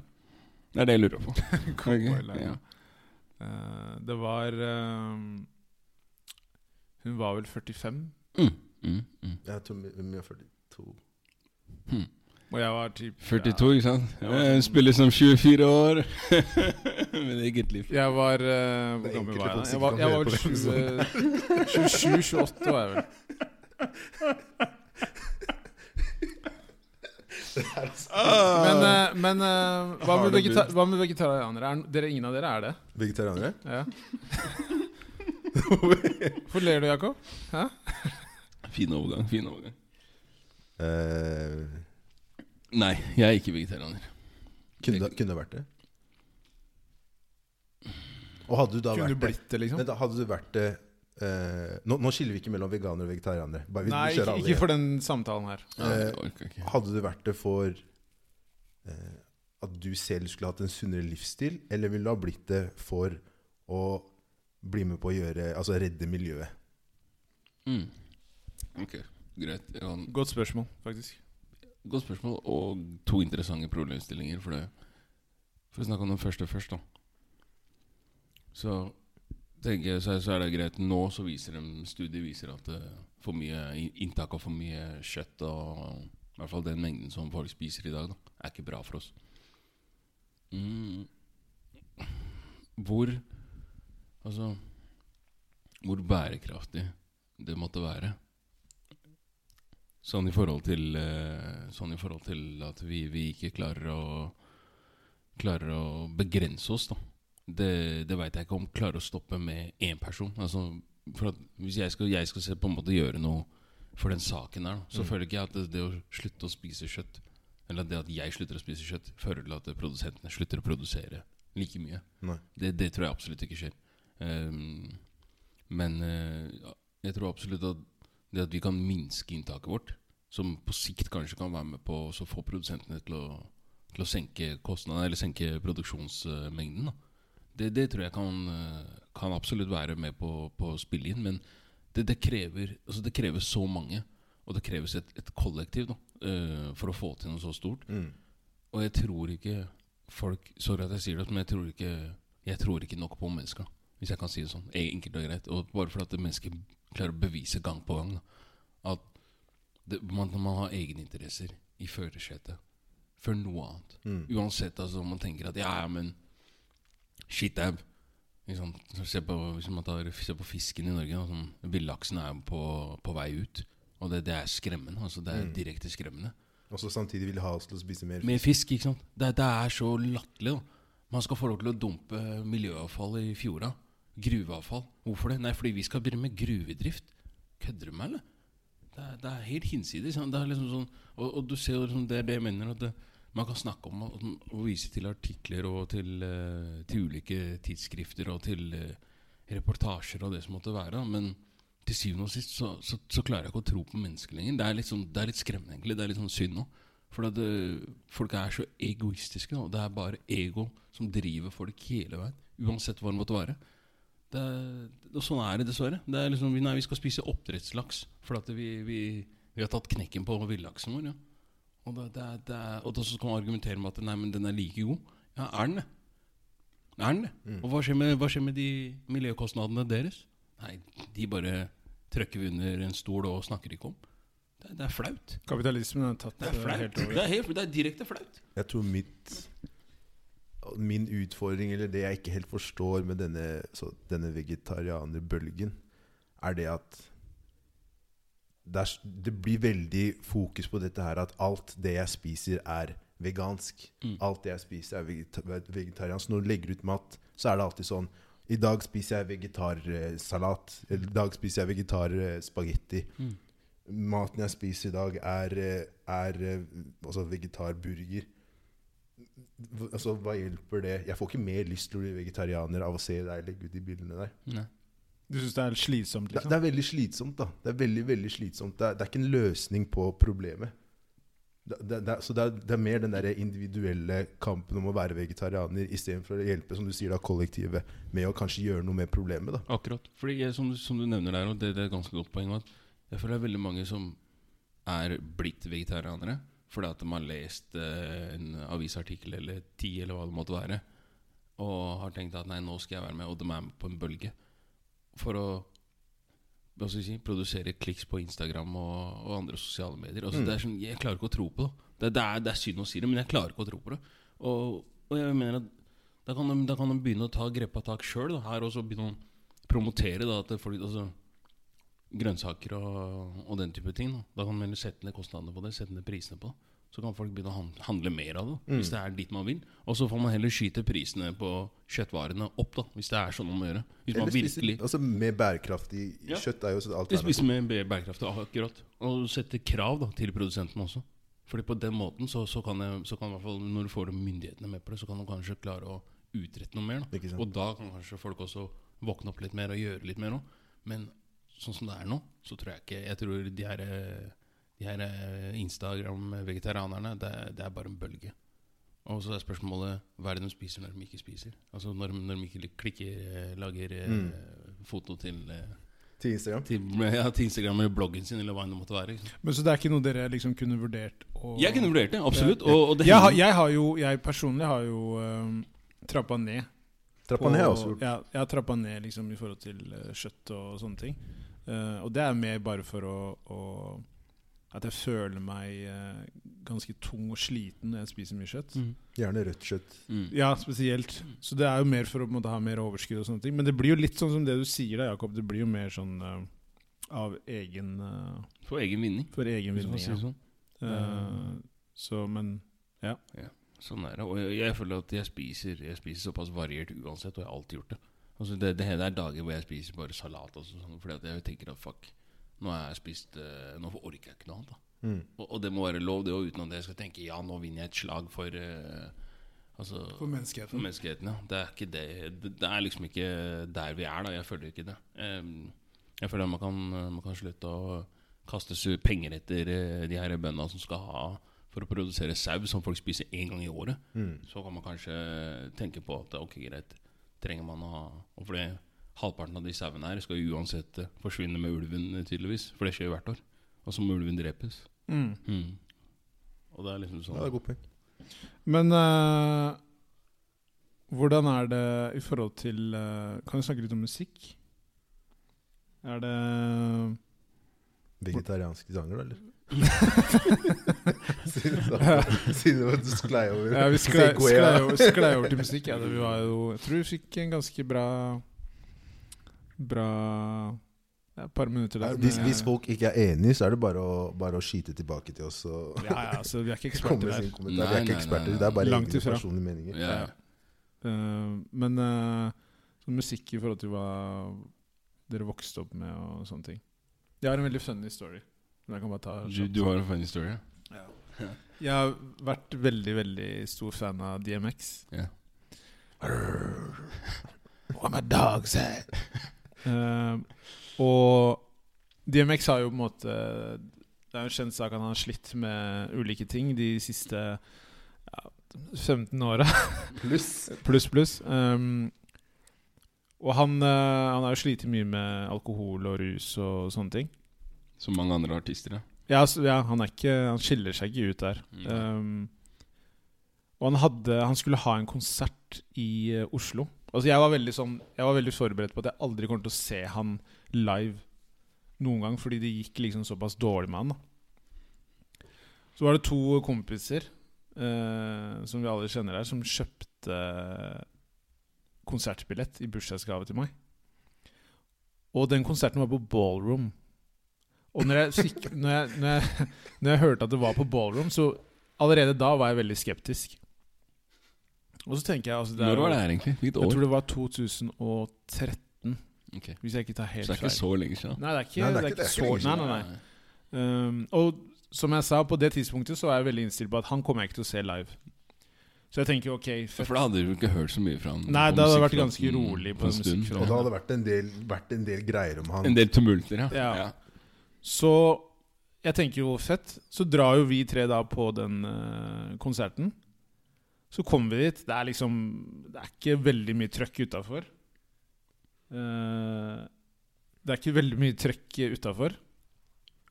Det er det jeg lurer på. Cowboy-Laila. Ja. Eh, det var ehm, Hun var vel 45, Mm, mm, mm. Jeg tror vi vi er 42. og jeg var typ 42, ikke sant? Ja. Eh, Spiller som 24 år. Med eget liv. Ja, jeg var eh, Det Hvor er gammel enkelte var jeg? folk da? som Jeg var, ikke jeg kan var høre på det, vel 27-28 var jeg vel. Men, eh, men eh, hva, med vegeta hva med vegetarianere? Er, dere, ingen av dere er det? Vegetarianere? Ja. Hvorfor ler du, Jakob? Fin overgang. Fin overgang. Eh, Nei, jeg er ikke vegetarianer. kunne, kunne vært det. Og hadde du da Kunne vært du det blitt det, liksom? Vent da, hadde du vært det eh, nå, nå skiller vi ikke mellom veganere og vegetarianere. Bare vi Nei, kjører ikke, alle ikke igjen. for den samtalen her. Nei, jeg orker ikke. Hadde du vært det for eh, at du selv skulle hatt en sunnere livsstil, eller ville du ha blitt det for å bli med på å gjøre Altså redde miljøet? Mm. Ok, greit. Jeg har en Godt spørsmål, faktisk. Godt spørsmål, og to interessante problemstillinger. For, det. for å snakke om den første først, da. Så tenker jeg, så, så er det greit Nå så viser de, studier viser at eh, for mye i- inntak av for mye kjøtt og i hvert fall den mengden som folk spiser i dag, da, er ikke bra for oss. Mm. Hvor Altså Hvor bærekraftig det måtte være. Sånn i forhold til eh, Sånn i forhold til at vi, vi ikke klarer å Klarer å begrense oss da Det, det vet jeg ikke om Klarer å stoppe med en person Altså for at Hvis jeg skal, jeg skal se på en måte gjøre noe For den saken her da, Så føler ikke jeg at det, det å slutte å spise kjøtt Eller det at jeg slutter å spise kjøtt Fører til at produsentene slutter å produsere Like mye Nei. det, det tror jeg absolutt ikke skjer. Ehm, men eh, ja, jeg tror absolutt at det at vi kan minske inntaket vårt, som på sikt kanskje kan være med på å også få produsentene til å, til å senke kostnadene, eller senke produksjonsmengden, da. Det, det tror jeg kan, eh, kan absolutt være med på, på å spille inn, men det, det, krever, altså det krever så mange, og det kreves et, et kollektiv da, eh, for å få til noe så stort. Mm. Og jeg tror ikke folk Sorry at jeg sier det, men jeg tror ikke, jeg tror ikke nok på mennesker. Hvis jeg kan si det sånn. e- Enkelt og greit. Og bare for at mennesker klarer å bevise gang på gang da, at det, man, man har egeninteresser i førersetet for noe annet. mm. Uansett altså, om man tenker at ja, ja, men shitau. Liksom, så se på, hvis man tar, ser på fisken i Norge, da, sånn, villaksen er jo på, på vei ut. Og det, det er skremmende. Altså, det er direkte skremmende. Og så samtidig vil ha oss til å spise mer. Med fisk, ikke sant? Det, det er så latterlig, da. Man skal få lov til å dumpe miljøavfall i fjorda. Gruveavfall. Hvorfor det? Nei, fordi vi skal begynne med gruvedrift. Kødder du med meg, eller? Det er, det er helt hinsides. sant? Det er liksom sånn, og, og du ser jo liksom det, det jeg mener at det, man kan snakke om og, og vise til artikler og til, eh, til ulike tidsskrifter og til eh, reportasjer og det som måtte være. da, Men til syvende og sist så, så, så klarer jeg ikke å tro på mennesker lenger. Det er litt, sånn, det er litt skremmende, egentlig. Det er litt sånn synd nå. For at eh, folk er så egoistiske. Da. Det er bare ego som driver folk hele veien. Uansett hva det måtte være. Det er, og sånn er det dessverre. Det er liksom, vi- nei, vi skal spise oppdrettslaks fordi at vi, vi, vi har tatt knekken på villaksen vår. Ja. Og, da- da- da- og da så kan man argumentere med at nei, men den er like god. Ja, er den det? Er den det? Og hva skjer, med, hva skjer med de miljøkostnadene deres? Nei, de bare trøkker vi under en stol og snakker ikke om. Det, er- det er flaut. Kapitalismen har tatt Det er eh, flaut. helt Det over. er, helt, det er direkte flaut. Jeg tror mitt Min utfordring, eller det jeg ikke helt forstår med denne, så, denne vegetarianerbølgen, er det at det, er, s- det blir veldig fokus på dette her at alt det jeg spiser, er vegansk. Alt det jeg spiser, er vegeta vegetariansk. Når du legger ut mat, så er det alltid sånn I dag spiser jeg vegetarsalat. Eller i dag spiser jeg vegetarspagetti. Maten jeg spiser i dag, er, eh, er eh, altså vegetarburger. Hva- Altså, hva hjelper det? Jeg får ikke mer lyst til å bli vegetarianer av å se deg legge ut de bildene der. Du syns det er slitsomt, Det, liksom? det er veldig slitsomt, da. Det er veldig, veldig slitsomt. Det er, det er ikke en løsning på problemet. Det, det, det, er- så det er, det er mer den der individuelle kampen om å være vegetarianer istedenfor å hjelpe som du sier da, kollektivet med å kanskje gjøre noe med problemet. da. Akkurat. Fordi jeg, som, du- som du nevner der, og det, det er et ganske godt poeng at jeg føler det er veldig mange som er blitt vegetarianere fordi at de har lest eh, en avisartikkel eller ti, eller hva det måtte være, og har tenkt at nei, nå skal jeg være med, og de er med på en bølge for å hva skal jeg si, produsere kliks på Instagram og, og andre sosiale medier. Altså, Mm. det er sånn, Jeg klarer ikke å tro på det. Det, det, er, det er synd å si det, men jeg klarer ikke å tro på det. Og, og jeg mener at da kan, de, da kan de begynne å ta grepa tak sjøl her, og så begynne å promotere da, at folk, altså, grønnsaker og, og den type ting. Da, da kan man heller sette ned kostnadene på det, sette ned prisene på det. Så kan folk begynne å han- handle mer av det, Mm. hvis det er dit man vil. Og så får man heller skyte prisene på kjøttvarene opp, da, hvis det er sånn om å gjøre. Hvis man Eller spise virkelig altså, med bærekraftig Ja. kjøtt er jo et vi alternativ. spiser med bæ- bærekraft, akkurat. Og sette krav da, til produsentene også. Fordi på den måten så, så kan jeg, så kan i hvert fall når du får myndighetene med på det, så kan du kanskje klare å utrette noe mer. Ikke Da. sant. Og da kan kanskje folk også våkne opp litt mer og gjøre litt mer òg. Men sånn som det er nå, så tror jeg ikke Jeg tror de her, eh, de her eh, Instagram-vegetarianerne, det, er- det er bare en bølge. Og så er spørsmålet hva er det de spiser når de ikke spiser? Altså når, de- når de ikke klikker, eh, lager eh, foto til eh, Til Instagram. til, ja, til Instagram eller bloggen sin, eller hva enn det måtte være. Liksom. Men Så det er ikke noe dere liksom kunne vurdert å Jeg kunne vurdert det, absolutt. Og, og det jeg, har, hender- jeg har jo Jeg personlig har jo øhm, trappa ned. Trappa ned har jeg også gjort. Ja, jeg har trappa ned liksom, i forhold til eh, kjøtt og sånne ting. Eh, og det er mer bare for å, å At jeg føler meg eh, ganske tung og sliten når jeg spiser mye kjøtt. Mm. Gjerne rødt kjøtt. Mm. Ja, spesielt. Så det er jo mer for å på en måte, ha mer overskudd og sånne ting. Men det blir jo litt sånn som det du sier da, Jakob. Det blir jo mer sånn eh, av egen eh, For egen vinning. For egen hvis man vinning. Ja. sier Sånn. Eh, så, men sånn er det. Og jeg, jeg føler at jeg spiser, jeg spiser såpass variert uansett, og jeg har alltid gjort det. Altså det, det, det er dager hvor jeg spiser bare salat og sånn, fordi at jeg tenker at fuck, nå har jeg spist eh, Nå orker jeg ikke noe annet. da Mm. og, og det må være lov, det òg, uten at jeg skal tenke ja, nå vinner jeg et slag for eh, Altså For menneskeheten. For menneskeheten, ja. Det er, ikke det. Det, det er liksom ikke der vi er, da. Jeg føler ikke det. Em, Jeg føler at man kan, man kan slutte å kaste su- penger etter eh, de her bøndene som skal ha for å produsere sau som folk spiser én gang i året. mm. Så kan man kanskje tenke på at ok, greit, trenger man å ha Og fordi halvparten av de sauene her skal jo uansett eh, forsvinne med ulven, eh, tydeligvis. For det skjer jo hvert år. Og så må ulven drepes. mm. Mm. Og det er liksom Ja, sånn det er et godt poeng. Men eh, hvordan er det i forhold til eh, Kan vi snakke litt om musikk? Er det Vegetarianske sanger, da, eller? Siden det var du sklei over. ja, Vi sklei, Segway, ja. sklei, over, sklei over til musikk. Ja, det vi var jo, jeg tror vi fikk en ganske bra Bra ja, Et par minutter der. Hvis, med- hvis folk ikke er enige, så er det bare å, bare å skyte tilbake til oss. Og ja, ja, altså, Vi er ikke eksperter komme med der. sin kommentar. Vi Nei, er nei, ikke eksperter, nei, nei. det er bare Langt egne ifra. personlige meninger. ja. Eh, men eh, sånn musikk i forhold til hva dere vokste opp med og sånne ting. Jeg har en veldig funny story. men Jeg kan bare ta Du, du har en funny story? ja? Jeg har vært veldig, veldig stor fan av DMX. Ja. What my dog said. Eh, og DMX har jo på en måte Det er jo en kjent sak at han har slitt med ulike ting de siste ja, 15 åra. Pluss Pluss, pluss. Um, og han, eh, han har jo slitt mye med alkohol og rus og sånne ting. Som mange andre artister, ja. Ja, så, ja han, er ikke, han skiller seg ikke ut der. Ehm, og han, hadde, han skulle ha en konsert i eh, Oslo. Altså jeg var, veldig sånn, jeg var veldig forberedt på at jeg aldri kommer til å se han live noen gang, fordi det gikk liksom såpass dårlig med han. Da. Så var det to kompiser eh, som vi alle kjenner her, som kjøpte konsertbillett i bursdagsgave til meg. Og den konserten var på ballroom. Og når jeg, sikk- når, jeg, når, jeg, når jeg hørte at det var på ballroom, så allerede da var jeg veldig skeptisk. Og så tenker jeg altså, er Når jo- var det her, egentlig? Hvilket Jeg år? tror det var 2013, Ok. hvis jeg ikke tar helt Så det er ikke så lenge siden. Nei, det er ikke, Nei, det er ikke, så lenge Nei, nei, nei. Um, og som jeg sa, på det tidspunktet så var jeg veldig innstilt på at han kommer jeg ikke til å se live. Så jeg tenker ok, Ja, fett. For da hadde du ikke hørt så mye fra han? Nei, på det hadde vært musikkfronten ganske rolig på en stund. musikkfronten. Og da hadde det vært en del, vært en del greier om han. En del tumulter, ja. Ja. Så jeg tenker jo fett. Så drar jo vi tre da på den eh, konserten. Så kommer vi dit. Det er liksom Det er ikke veldig mye trøkk utafor. Eh, det er ikke veldig mye trøkk utafor.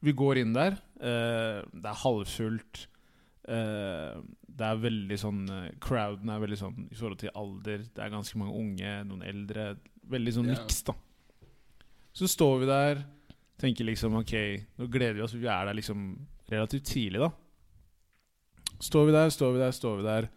Vi går inn der. eh, det er halvfullt. Eh, det er veldig sånn eh, Crowden er veldig sånn i forhold til alder. Det er ganske mange unge, noen eldre. Veldig sånn Ja. miks, da. Så står vi der, tenker liksom OK, nå gleder vi oss. Vi er der liksom relativt tidlig, da. Står vi der, står vi der, står vi der.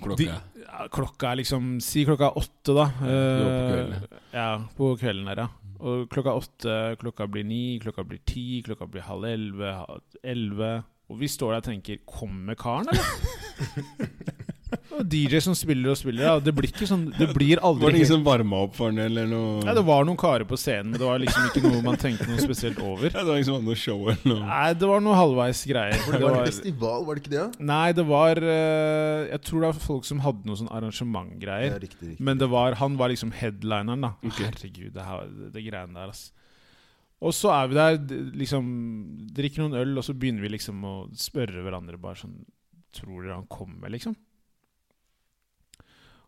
Klokka De- Ja, klokka er liksom Si klokka er åtte, da. det var på Eh, kvelden, ja, på kvelden her, ja. Og klokka er åtte, klokka blir ni, klokka blir ti, klokka blir halv elleve, halv elleve. Og vi står der og tenker Kommer karen, eller? og DJ som spiller og spiller. Ja. Det blir ikke sånn Det blir aldri Var det ingen som varma opp for den, eller noe? ja, det var noen karer på scenen, men det var liksom ikke noe man tenkte noe spesielt over. Ja, det var ingen som hadde noe show eller noe? Nei, det var noe halvveis greier. For det Det var en var- festival, var det ikke det? ja? Nei, det var eh, Jeg tror det var folk som hadde noe sånn Ja, arrangementgreier. riktig, riktig. Men det var, han var liksom headlineren, da. Ok. Herregud, det, her, det, det greiene der, ass. Og så er vi der, d- liksom drikker noen øl, og så begynner vi liksom å spørre hverandre bare sånn Tror dere han kommer, liksom?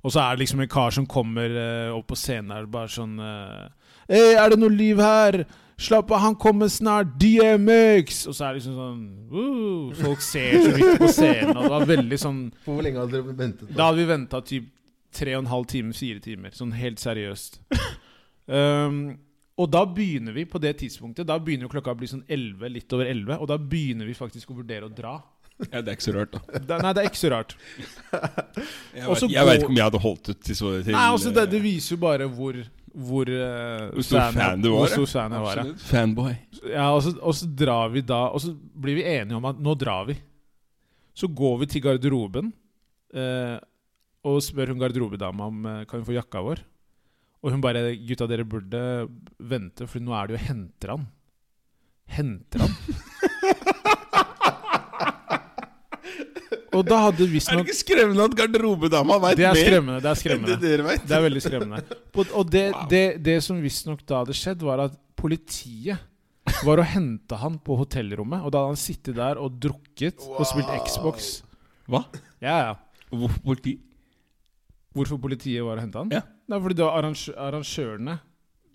Og så er det liksom en kar som kommer eh, opp på scenen her bare sånn eh, Hei, er det noe liv her? Slapp av, han kommer snart! DMX! Og så er det liksom sånn «Woo!» Folk ser så vidt på scenen, og det var veldig sånn Hvor lenge hadde dere ventet? da hadde vi venta typ tre og en halv time, fire timer. Sånn helt seriøst. um, og da begynner vi på det tidspunktet. Da begynner jo klokka å bli sånn 11, litt over 11. Og da begynner vi faktisk å vurdere å dra. Ja, det er ikke så rart, da. Da, nei, det er ikke så rart. Jeg Og vet, så jeg går- vet ikke om jeg hadde holdt ut til så til eh, Nei, altså, det, det viser jo bare hvor hvor, eh, Hvor stor fan du var, Hvor stor fan jeg var ja. Absolutt. Fanboy. Ja, og så, og så drar vi da Og så blir vi enige om at nå drar vi. Så går vi til garderoben eh, og spør hun garderobedama om eh, kan vi få jakka vår. Og hun bare 'Gutta, dere burde vente, for nå er det jo henter han'. Henter han? og da hadde Er det visstnok ikke skremmende at garderobedama veit Det er mer skremmende. Det er enn det skremmende. dere veit? Det er veldig skremmende. På- Og det, Wow. det, det som visstnok da hadde skjedd, var at politiet var og henta han på hotellrommet. Og da hadde han sittet der og drukket og spilt Xbox. Hva? Ja, ja. Hvorfor politi? Hvorfor politiet var og henta han? Ja. Nei, fordi det var arrangø- arrangørene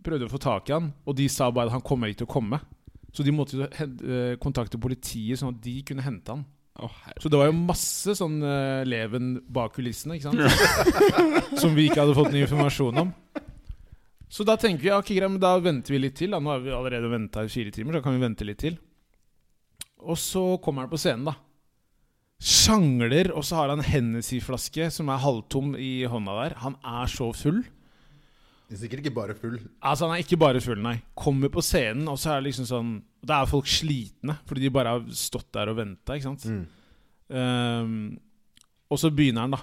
prøvde å få tak i han, og de sa bare at han kommer ikke til å komme. Så de måtte jo hen- eh, kontakte politiet, sånn at de kunne hente han. Å, herre. Så det var jo masse sånn eh, leven bak kulissene, ikke sant? Som vi ikke hadde fått noe informasjon om. Så da tenker vi ja, ok, greit, men da venter vi litt til. Da. Nå har vi allerede venta i fire timer, så da kan vi vente litt til. Og så kommer han på scenen, da. Sjangler, og så har han Hennessy-flaske som er halvtom i hånda der. Han er så full. Det er sikkert ikke bare full. Altså Han er ikke bare full, nei. Kommer på scenen, og så er det liksom sånn Da er folk slitne, fordi de bare har stått der og venta, ikke sant? Mm. Ehm, og så begynner han, da.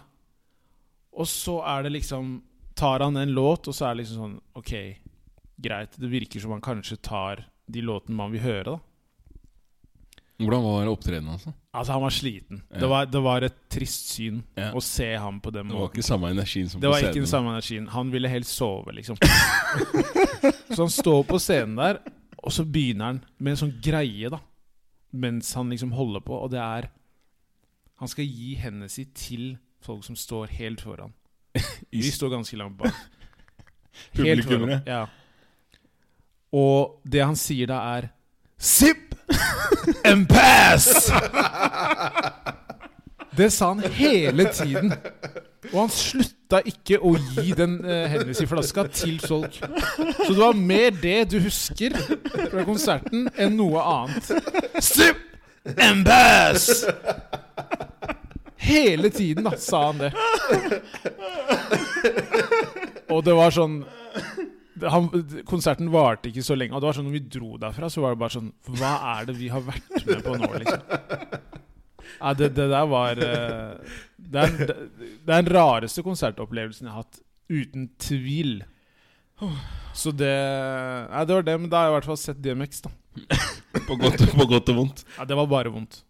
Og så er det liksom Tar han en låt, og så er det liksom sånn Ok, greit. Det virker som han kanskje tar de låtene man vil høre, da. Hvordan var opptredenen hans? da? Altså, han var sliten. Ja. Det, var, det var et trist syn Ja. å se ham på den Det var måten. ikke samme energien som Det på var ikke den scenen. samme energien. Han ville helst sove, liksom. så han står på scenen der, og så begynner han med en sånn greie, da. Mens han liksom holder på, og det er Han skal gi hendene si til folk som står helt foran. I Vi s- står ganske langt bak. Publikummere. Ja. Og det han sier da, er Zipp! Empass! Det sa han hele tiden. Og han slutta ikke å gi den eh, Hennessy flaska til folk. Så det var mer det du husker fra konserten, enn noe annet. Sip! Empass! Hele tiden da, sa han det. Og det var sånn det- han, konserten varte ikke så lenge. Og det var sånn, når vi dro derfra, så var det bare sånn Hva er det vi har vært med på nå, liksom? Ja, det, det der var eh, det er, det det er den rareste konsertopplevelsen jeg har hatt. Uten tvil. Så det Nei, det var det, men da har jeg i hvert fall sett DMX, da. På godt, på godt og vondt. Ja, det var bare vondt.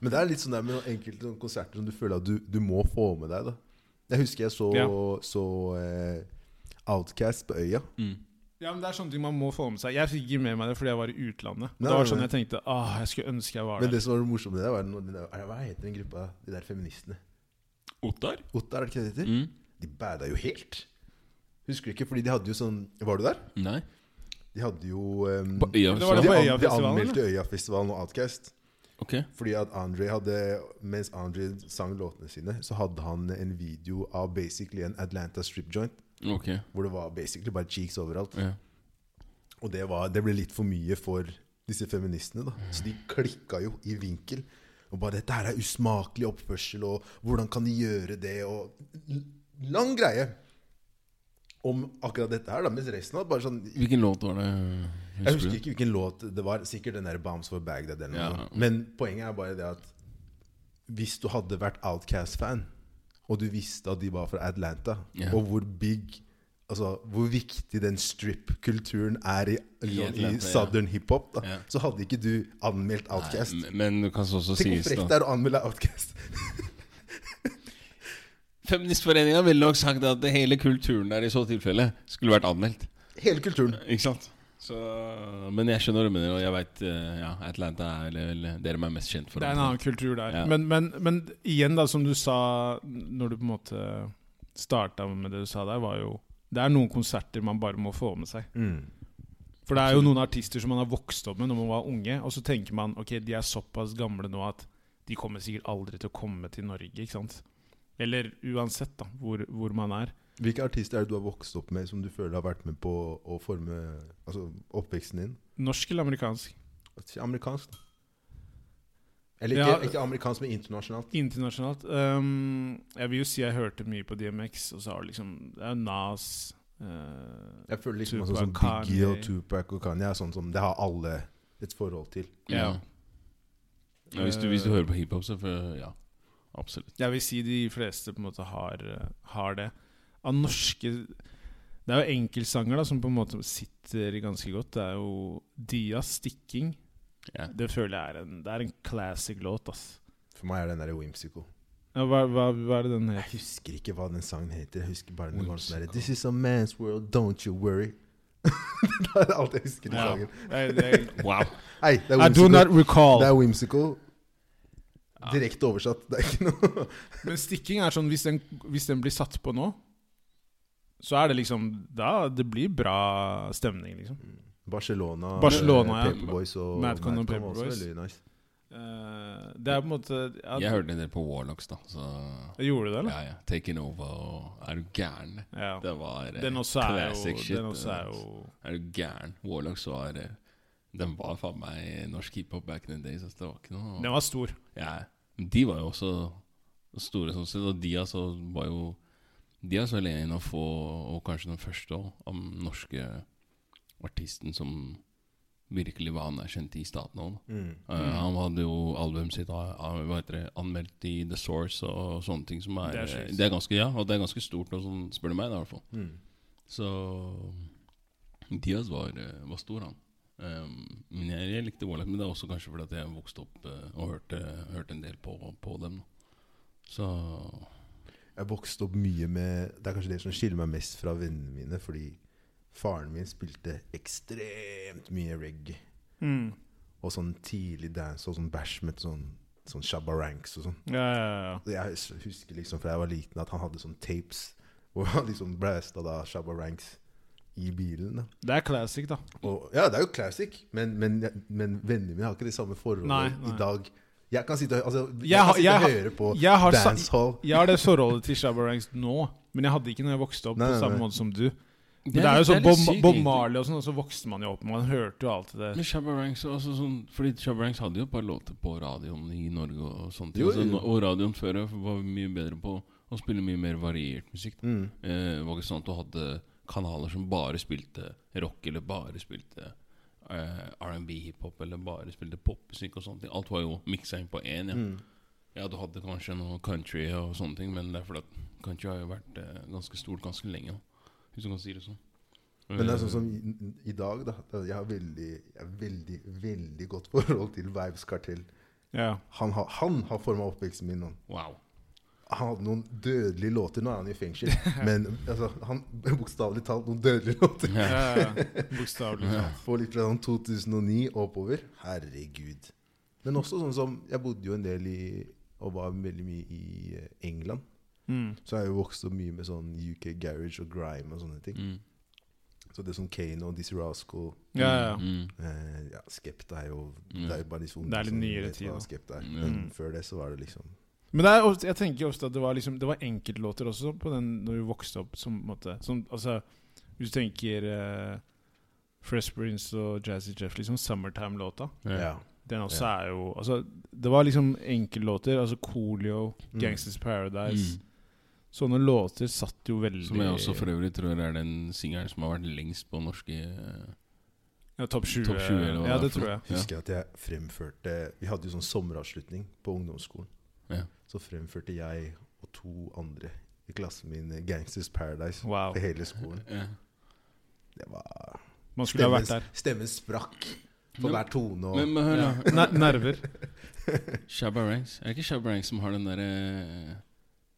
Men det er litt sånn der med noen enkelte sånne konserter som du føler at du, du må få med deg. da Jeg husker jeg så, Ja. så eh, Outcast på Øya. Mm. Ja, men Det er sånne ting man må få med seg. Jeg fikk ikke med meg det fordi jeg var i utlandet. Og Nei, det var nei, sånn nei. jeg tenkte Åh, jeg skulle ønske jeg var Men der. det som var det morsomme med det, var noe- den der, hva heter den gruppa, de der feministene? Ottar? Ottar, er det ikke det de Mm. heter? Mm. De bada jo helt. Husker du ikke? Fordi de hadde jo sånn Var du der? Nei. De hadde jo ehm, På øya, Det så var de, på an, de Øyafestivalen, anmeldte Øyafestivalen og Outcast. Ok. Fordi at Andre hadde Mens Andre sang låtene sine, så hadde han en video av basically en Atlanta strip joint. Ok. Hvor det var basically bare cheeks overalt. Ja. Og det, var, det ble litt for mye for disse feministene. da Så de klikka jo i vinkel. Og bare 'Dette her er usmakelig oppførsel', og 'Hvordan kan de gjøre det?' Og l- lang greie om akkurat dette her, da. Mens resten var bare sånn Hvilken låt var det? Jeg du? husker ikke hvilken låt det var. Sikkert den der 'Bombs for Bagdad' eller noe. Ja. Men poenget er bare det at hvis du hadde vært Outcast-fan, og du visste at de var fra Atlanta, Ja. og hvor big Altså hvor viktig den strip-kulturen er i, i, Atlanta, ja. southern hiphop, da, Ja. så hadde ikke du anmeldt Outcast. Nei, men det kan så også Tenk hvor sies, frekt da. det er å anmelde Outcast. Feministforeninga ville nok sagt at hele kulturen der i så tilfelle skulle vært anmeldt. Hele kulturen. Ikke sant? Så, men jeg skjønner hva du mener, og jeg veit ja, Atlanta er vel det de er mest kjent for. Det er en annen kultur der. Ja. Men, men, men igjen, da, som du sa når du på en måte starta med det du sa der, var jo Det er noen konserter man bare må få med seg. Mm. For det er jo noen artister som man har vokst opp med når man var unge, og så tenker man ok, de er såpass gamle nå at de kommer sikkert aldri til å komme til Norge, ikke sant? Eller uansett, da, hvor, hvor man er. Hvilke artister er det du har vokst opp med som du føler har vært med på å forme altså, oppveksten din? Norsk eller amerikansk? Si Amerikansk, da. Eller ikke, Ja. ikke amerikansk, men internasjonalt. Internasjonalt. Ehm, jeg vil jo si jeg hørte mye på DMX, og så har det liksom Det er jo Nas eh, Jeg føler liksom at Tupac, sånn som Biggie og Kanye. Tupac og Kanye er sånn som det har alle et forhold til. ja. Ja, hvis, du, hvis du hører på hiphop, så for, ja. Absolutt. Jeg vil si de fleste på en måte har, eh, har det. Av norske Det er jo enkeltsanger da som på en måte sitter ganske godt. Det er jo Dias 'Stikking'. Ja. Det føler jeg er en Det er en classic låt, ass. For meg er den der Whimsical. Ja, hva, hva, hva er det den Jeg heter? husker ikke hva den sangen heter. Jeg husker bare den var sånn der Whimsical. This is a man's world, don't you worry. det er alt jeg husker i Ja. sangen. Nei, det er- Wow. Hei, det er I do not Whimsical. Det recall. er whimsical. Direkte oversatt. Det er ikke noe Men 'Stikking' er sånn hvis den, hvis den blir satt på nå, så er det liksom Da det blir bra stemning, liksom. Barcelona, Barcelona, eh, ja. Paperboys og Madcon og Madcon var også Paperboys. veldig Nice. Eh, det er på en måte ja, Jeg hørte en del på Warlocks, da. Så Gjorde du det, eller? ja, ja. Taken over og Er du gæren? Ja. Det var eh, Den også er classic jo, shit. Den også er altså. jo Er du gæren? Warlocks var eh, Den var faen meg norsk hiphop back in the days. Altså, det var ikke noe Den var stor. ja. Men De var jo også store sånn sett, og de altså var jo De er så alene en av få, og kanskje den første òg, av den norske artisten som virkelig var anerkjent i staten òg. Mm, Eh, han hadde jo albumet sitt ah, ah, hva heter det, anmeldt i The Source og sånne ting som er eh, Det Det er er, sjukt. ganske, ja, og det er ganske stort, nå, sånn, spør du meg, da, i hvert fall. mm. Så Diaz var, eh, var stor, han. Um, men jeg, jeg likte Warlock, men det er også kanskje fordi at jeg vokste opp eh, og hørte, hørte en del på, på dem. Da. Så Jeg vokste opp mye med Det er kanskje det som skiller meg mest fra vennene mine, fordi faren min spilte ekstremt mye reggae. Og sånn tidlig dance og sånn bæsj med sånn, sånn shabba ranks og sånn. Ja, ja, ja. Og Jeg s- sånn husker liksom fra jeg var liten at han hadde sånne tapes hvor han liksom blæsta da shabba ranks i bilen. Da. Det er classic, da. Og, ja, det er jo classic, men, men, men vennene mine har ikke de samme Nei, forholdene nei. i dag. Jeg kan sitte, og- altså, jeg Jeg har- kan sitte jeg og har- høre på jeg har sa- dancehall. Jeg har det forholdet til Shabba Ranks nå, men jeg hadde ikke når jeg vokste opp. Nei, på nei, samme nei. måte som du Men Det Det er er jo litt- sånn det er litt Bob, sykt, Bob egentlig. Marley og sånn, og så vokste man jo opp. Man hørte jo alt det der. Men Shabba Ranks altså sånn, Fordi Shabba Ranks hadde jo et par låter på radioen i Norge og, og sånne ting. Jo, Altså, jo. og radioen før var mye bedre på å spille mye mer variert musikk. Mm. Eh, var ikke sånn at du hadde kanaler som bare spilte rock, eller bare spilte eh, R&B, hiphop, eller bare spilte popmusikk og sånne ting. Alt var jo miksa inn på én. Ja. Mm. ja, du hadde kanskje noe country og sånne ting, men det er fordi at country har jo vært eh, ganske stort ganske lenge nå, hvis du kan si det sånn. Men det er Eh, sånn som i, i dag, da. da Jeg har veldig, jeg har veldig, veldig godt forhold til Vibes Kartell. Ja. Han har, han har forma oppveksten min. Han. Wow. han hadde noen dødelige låter. Nå er han i fengsel, men altså, han bokstavelig talt noen dødelige låter. Ja, ja, ja. Bokstavelig talt. For litt fra sånn 2009 og oppover. Herregud. Men også sånn som Jeg bodde jo en del i og var veldig mye i eh, England. Mm. Så jeg har jo vokst opp mye med sånn UK Garage og Grime og sånne ting. Mm. Så det er sånn Kane og Dizzie Rascal Ja, ja, ja. Mm. Eh, ja, Skepta er jo Mm. Det er jo bare de som Det er litt som nyere vet tid, hva da. Skepta er. Mm. Men før det så var det liksom Men det er ofte, jeg tenker jo ofte at det var, liksom, det var enkeltlåter også på den når vi vokste opp. Som, på en måte, som, altså, hvis du tenker eh, Fresh Prince og Jazzy Jeff, liksom Summertime-låta Ja. Den også er jo altså, Det var liksom enkeltlåter. Altså Coolio, Mm. Gangsters Paradise. Mm. Sånne låter satt jo veldig Som jeg også for øvrig tror er den singelen som har vært lengst på norske eh, Ja, Topp 20. topp 20. Eller hva ja, er det for tror noe. jeg. Husker jeg at jeg fremførte Vi hadde jo sånn sommeravslutning på ungdomsskolen. Ja. Så fremførte jeg og to andre i klassen min eh, Gangsters Paradise Wow. for hele skolen. Ja. Det var Man skulle ha vært der. stemmen- Stemmen sprakk på Men- hver tone. Og, Men, men hør, Ja. da. Ne- Nerver. Shabba Ranks. Er det ikke Shabba Ranks som har den derre eh,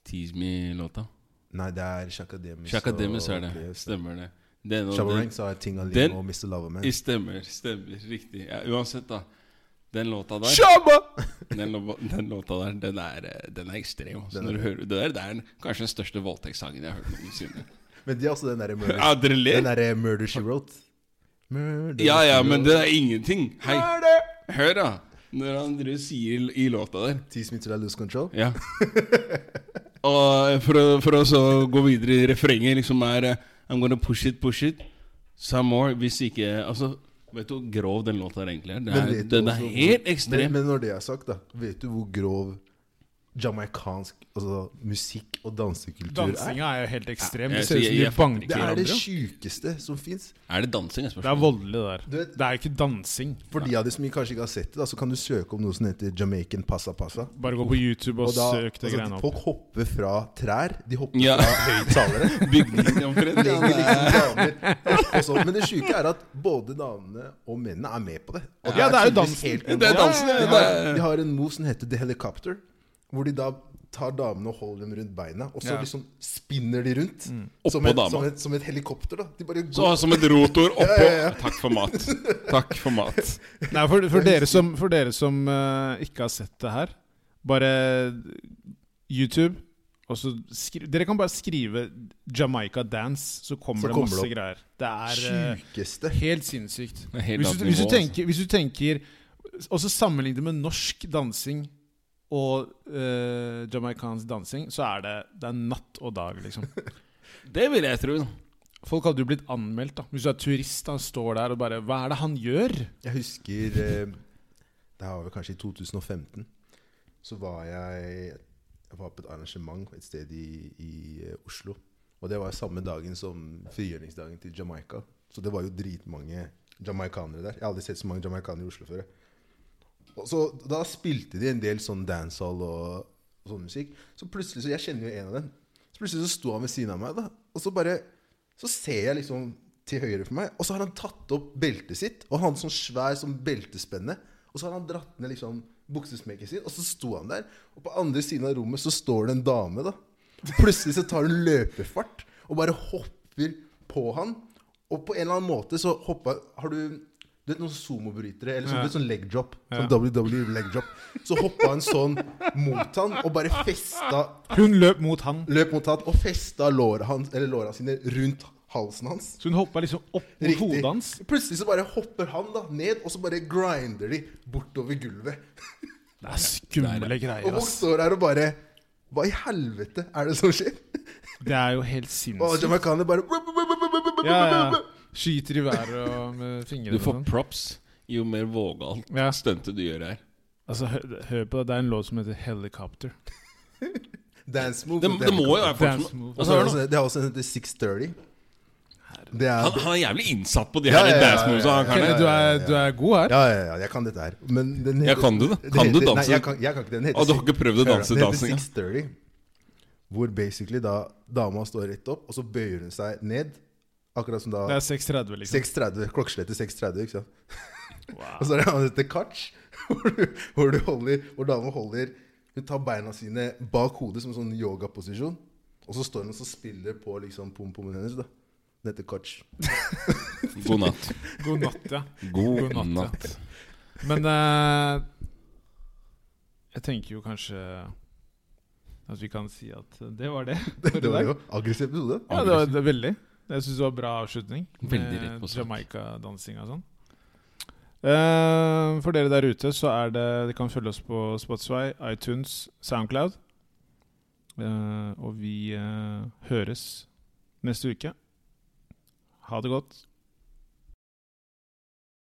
Tease Me-låta? nei, det er Shakademus. Shaka Demus og- er det. Stemmer det. det, er noe- Shabba det- Ranks har Ting Alim Den- og Mr. Loverman. I Stemmer. Stemmer. Riktig. Ja, uansett, da. Den låta der Shabba! den, lo- den låta der, den er, eh, den er ekstrem. Altså, Den når er- du hører, det der det er den, kanskje den største voldtektssangen jeg har hørt noensinne. Men de har også den derre murder, Ja, dere den ler? derre murder She Wrote. Murder Ja ja, She men Wrote. det er ingenting. Hei, hør, da. Når han driver og sier i- i låta der Tease me till I lose control. Ja. Og for å, for å så gå videre i refrenget, liksom er eh, I'm gonna push it, push it. Some more. Hvis ikke Altså, vet du hvor grov den låta er egentlig er? Den Men er, vet du den er også hvor- helt ekstrem. Men, men når det er sagt, da, vet du hvor grov jamaicansk altså, musikk og dansekultur er? Dansinga er jo helt ekstrem. Det Ja, jeg- ser ut jeg- som de jeg fatter banker Det er det hverandre. sjukeste som fins. er det dansing? er Det er spørsmålet? voldelig, det der. Du vet- Det er jo ikke dansing. For de av dere som kanskje ikke har sett det, da, så kan du søke om noe som heter Jamaican passa passa. Bare gå på YouTube og, Og da, søk det altså, greiene opp. folk hopper fra trær. De hopper Ja. fra høyttalere. Bygning omtrent. Ja, Legger det er- liksom damer og så- Men det sjuke er at både damene og mennene er med på det. Og Ja, det er jo tydeligvis dansen. helt det er dansen, De det. Eh. har, de er- har en move som heter The Helicopter. Hvor de da tar damene og holder dem rundt beina, og så Ja. Mm. liksom spinner de rundt. Oppå Som et, dama. som, et, som et helikopter, da. De bare Så går som et rotor oppå. Takk for mat. Takk for mat. Nei, for, for dere som, for dere som eh, ikke har sett det her, bare YouTube og så skri Dere kan bare skrive 'Jamaica Dance', så kommer Så det kommer masse det opp. greier. Det er eh, Sjukeste. helt sinnssykt. Det er helt Hvis annet du, hvis, du nivå, altså. tenker, hvis du tenker Også sammenlign det med norsk dansing og uh, jamaicansk dansing, så er det, det er natt og dag, liksom. Det vil jeg tro. da. Folk hadde jo blitt anmeldt, da. Hvis du er turist da, og står der og bare Hva er det han gjør? Jeg husker eh, Det her var vel kanskje i 2015. Så var jeg Jeg var på et arrangement et sted i, i eh, Oslo. Og det var samme dagen som frigjøringsdagen til Jamaica. Så det var jo dritmange jamaicanere der. Jeg har aldri sett så mange jamaicanere i Oslo før. jeg. Og så Da spilte de en del sånn dancehall og, og sånn musikk. Så plutselig, så jeg kjenner jo en av dem. Så plutselig så sto han ved siden av meg, da. Og så bare Så ser jeg liksom til høyre for meg, og så har han tatt opp beltet sitt. Og han sånn svær som beltespenne. Og så har han dratt ned liksom buksesmekken sin, og så sto han der. Og på andre siden av rommet så står det en dame, da. Plutselig så tar hun løpefart og bare hopper på han. Og på en eller annen måte så hoppa Har du du vet noen somobrytere, eller sånn, Ja. du vet sånn leg drop. Ja. Sånn WWE leg drop. Så hoppa han sånn mot han, og bare festa Hun løp mot han. løp mot han og festa låra hans, eller låra sine rundt halsen hans. Så hun hoppa liksom opp mot Riktig. hodet hans. Plutselig så bare hopper han da ned, og så bare grinder de bortover gulvet. Det er skumle greier, Og Vogt ass. står her og bare Hva i helvete er det som skjer? Det er jo helt Og sinnssykt. jamaikaner bare Ja, ja. Skyter i været og med fingrene. Du og får sånn. props jo mer vågalt Ja. stuntet du gjør her. Altså, hø- hør på det. Det er en låt som heter 'Helicopter'. Dance move. Det, det må jo være folk Dance som move. Og altså, så er hør nå. det også- Det er også en som heter 630. Det er han, han er jævlig innsatt på de Ja, her ja, ja, dance ja, moves. han ja, kan Kenneth, det. du, er- du er god her. Ja, ja, ja, jeg kan dette her. Men den Jeg kan det, da. den Kan du heter- danse? Nei, jeg kan, jeg kan ikke det. Den heter Å, du har Six- ikke prøvd å Hør da, danse Den dansing, ja. heter 630. Hvor basically da dama står rett opp, og så bøyer hun seg ned. Akkurat som da Det er 6.30, liksom. 6.30, klokkeslettet 6.30, ikke sant? og så er det han heter Kach, hvor, du- hvor, du holder- hvor dama holder Hun tar beina sine bak hodet som en sånn yogaposisjon, og så står hun og så spiller på liksom pom-pommen hennes, da. Den heter Kach. God natt. God natt, ja. God God natt, natt. Men eh, jeg tenker jo kanskje at vi kan si at det var det. for i Det var dag. jo aggressiv episode. Ja, det var det, er veldig. Jeg syns det var bra avslutning. Veldig rett på Med sak. Jamaica-dansing og sånn. Eh, for dere der ute, så er det Dere kan følge oss på Spotify, iTunes, Soundcloud. Eh, og vi eh, høres neste uke. Ha det godt.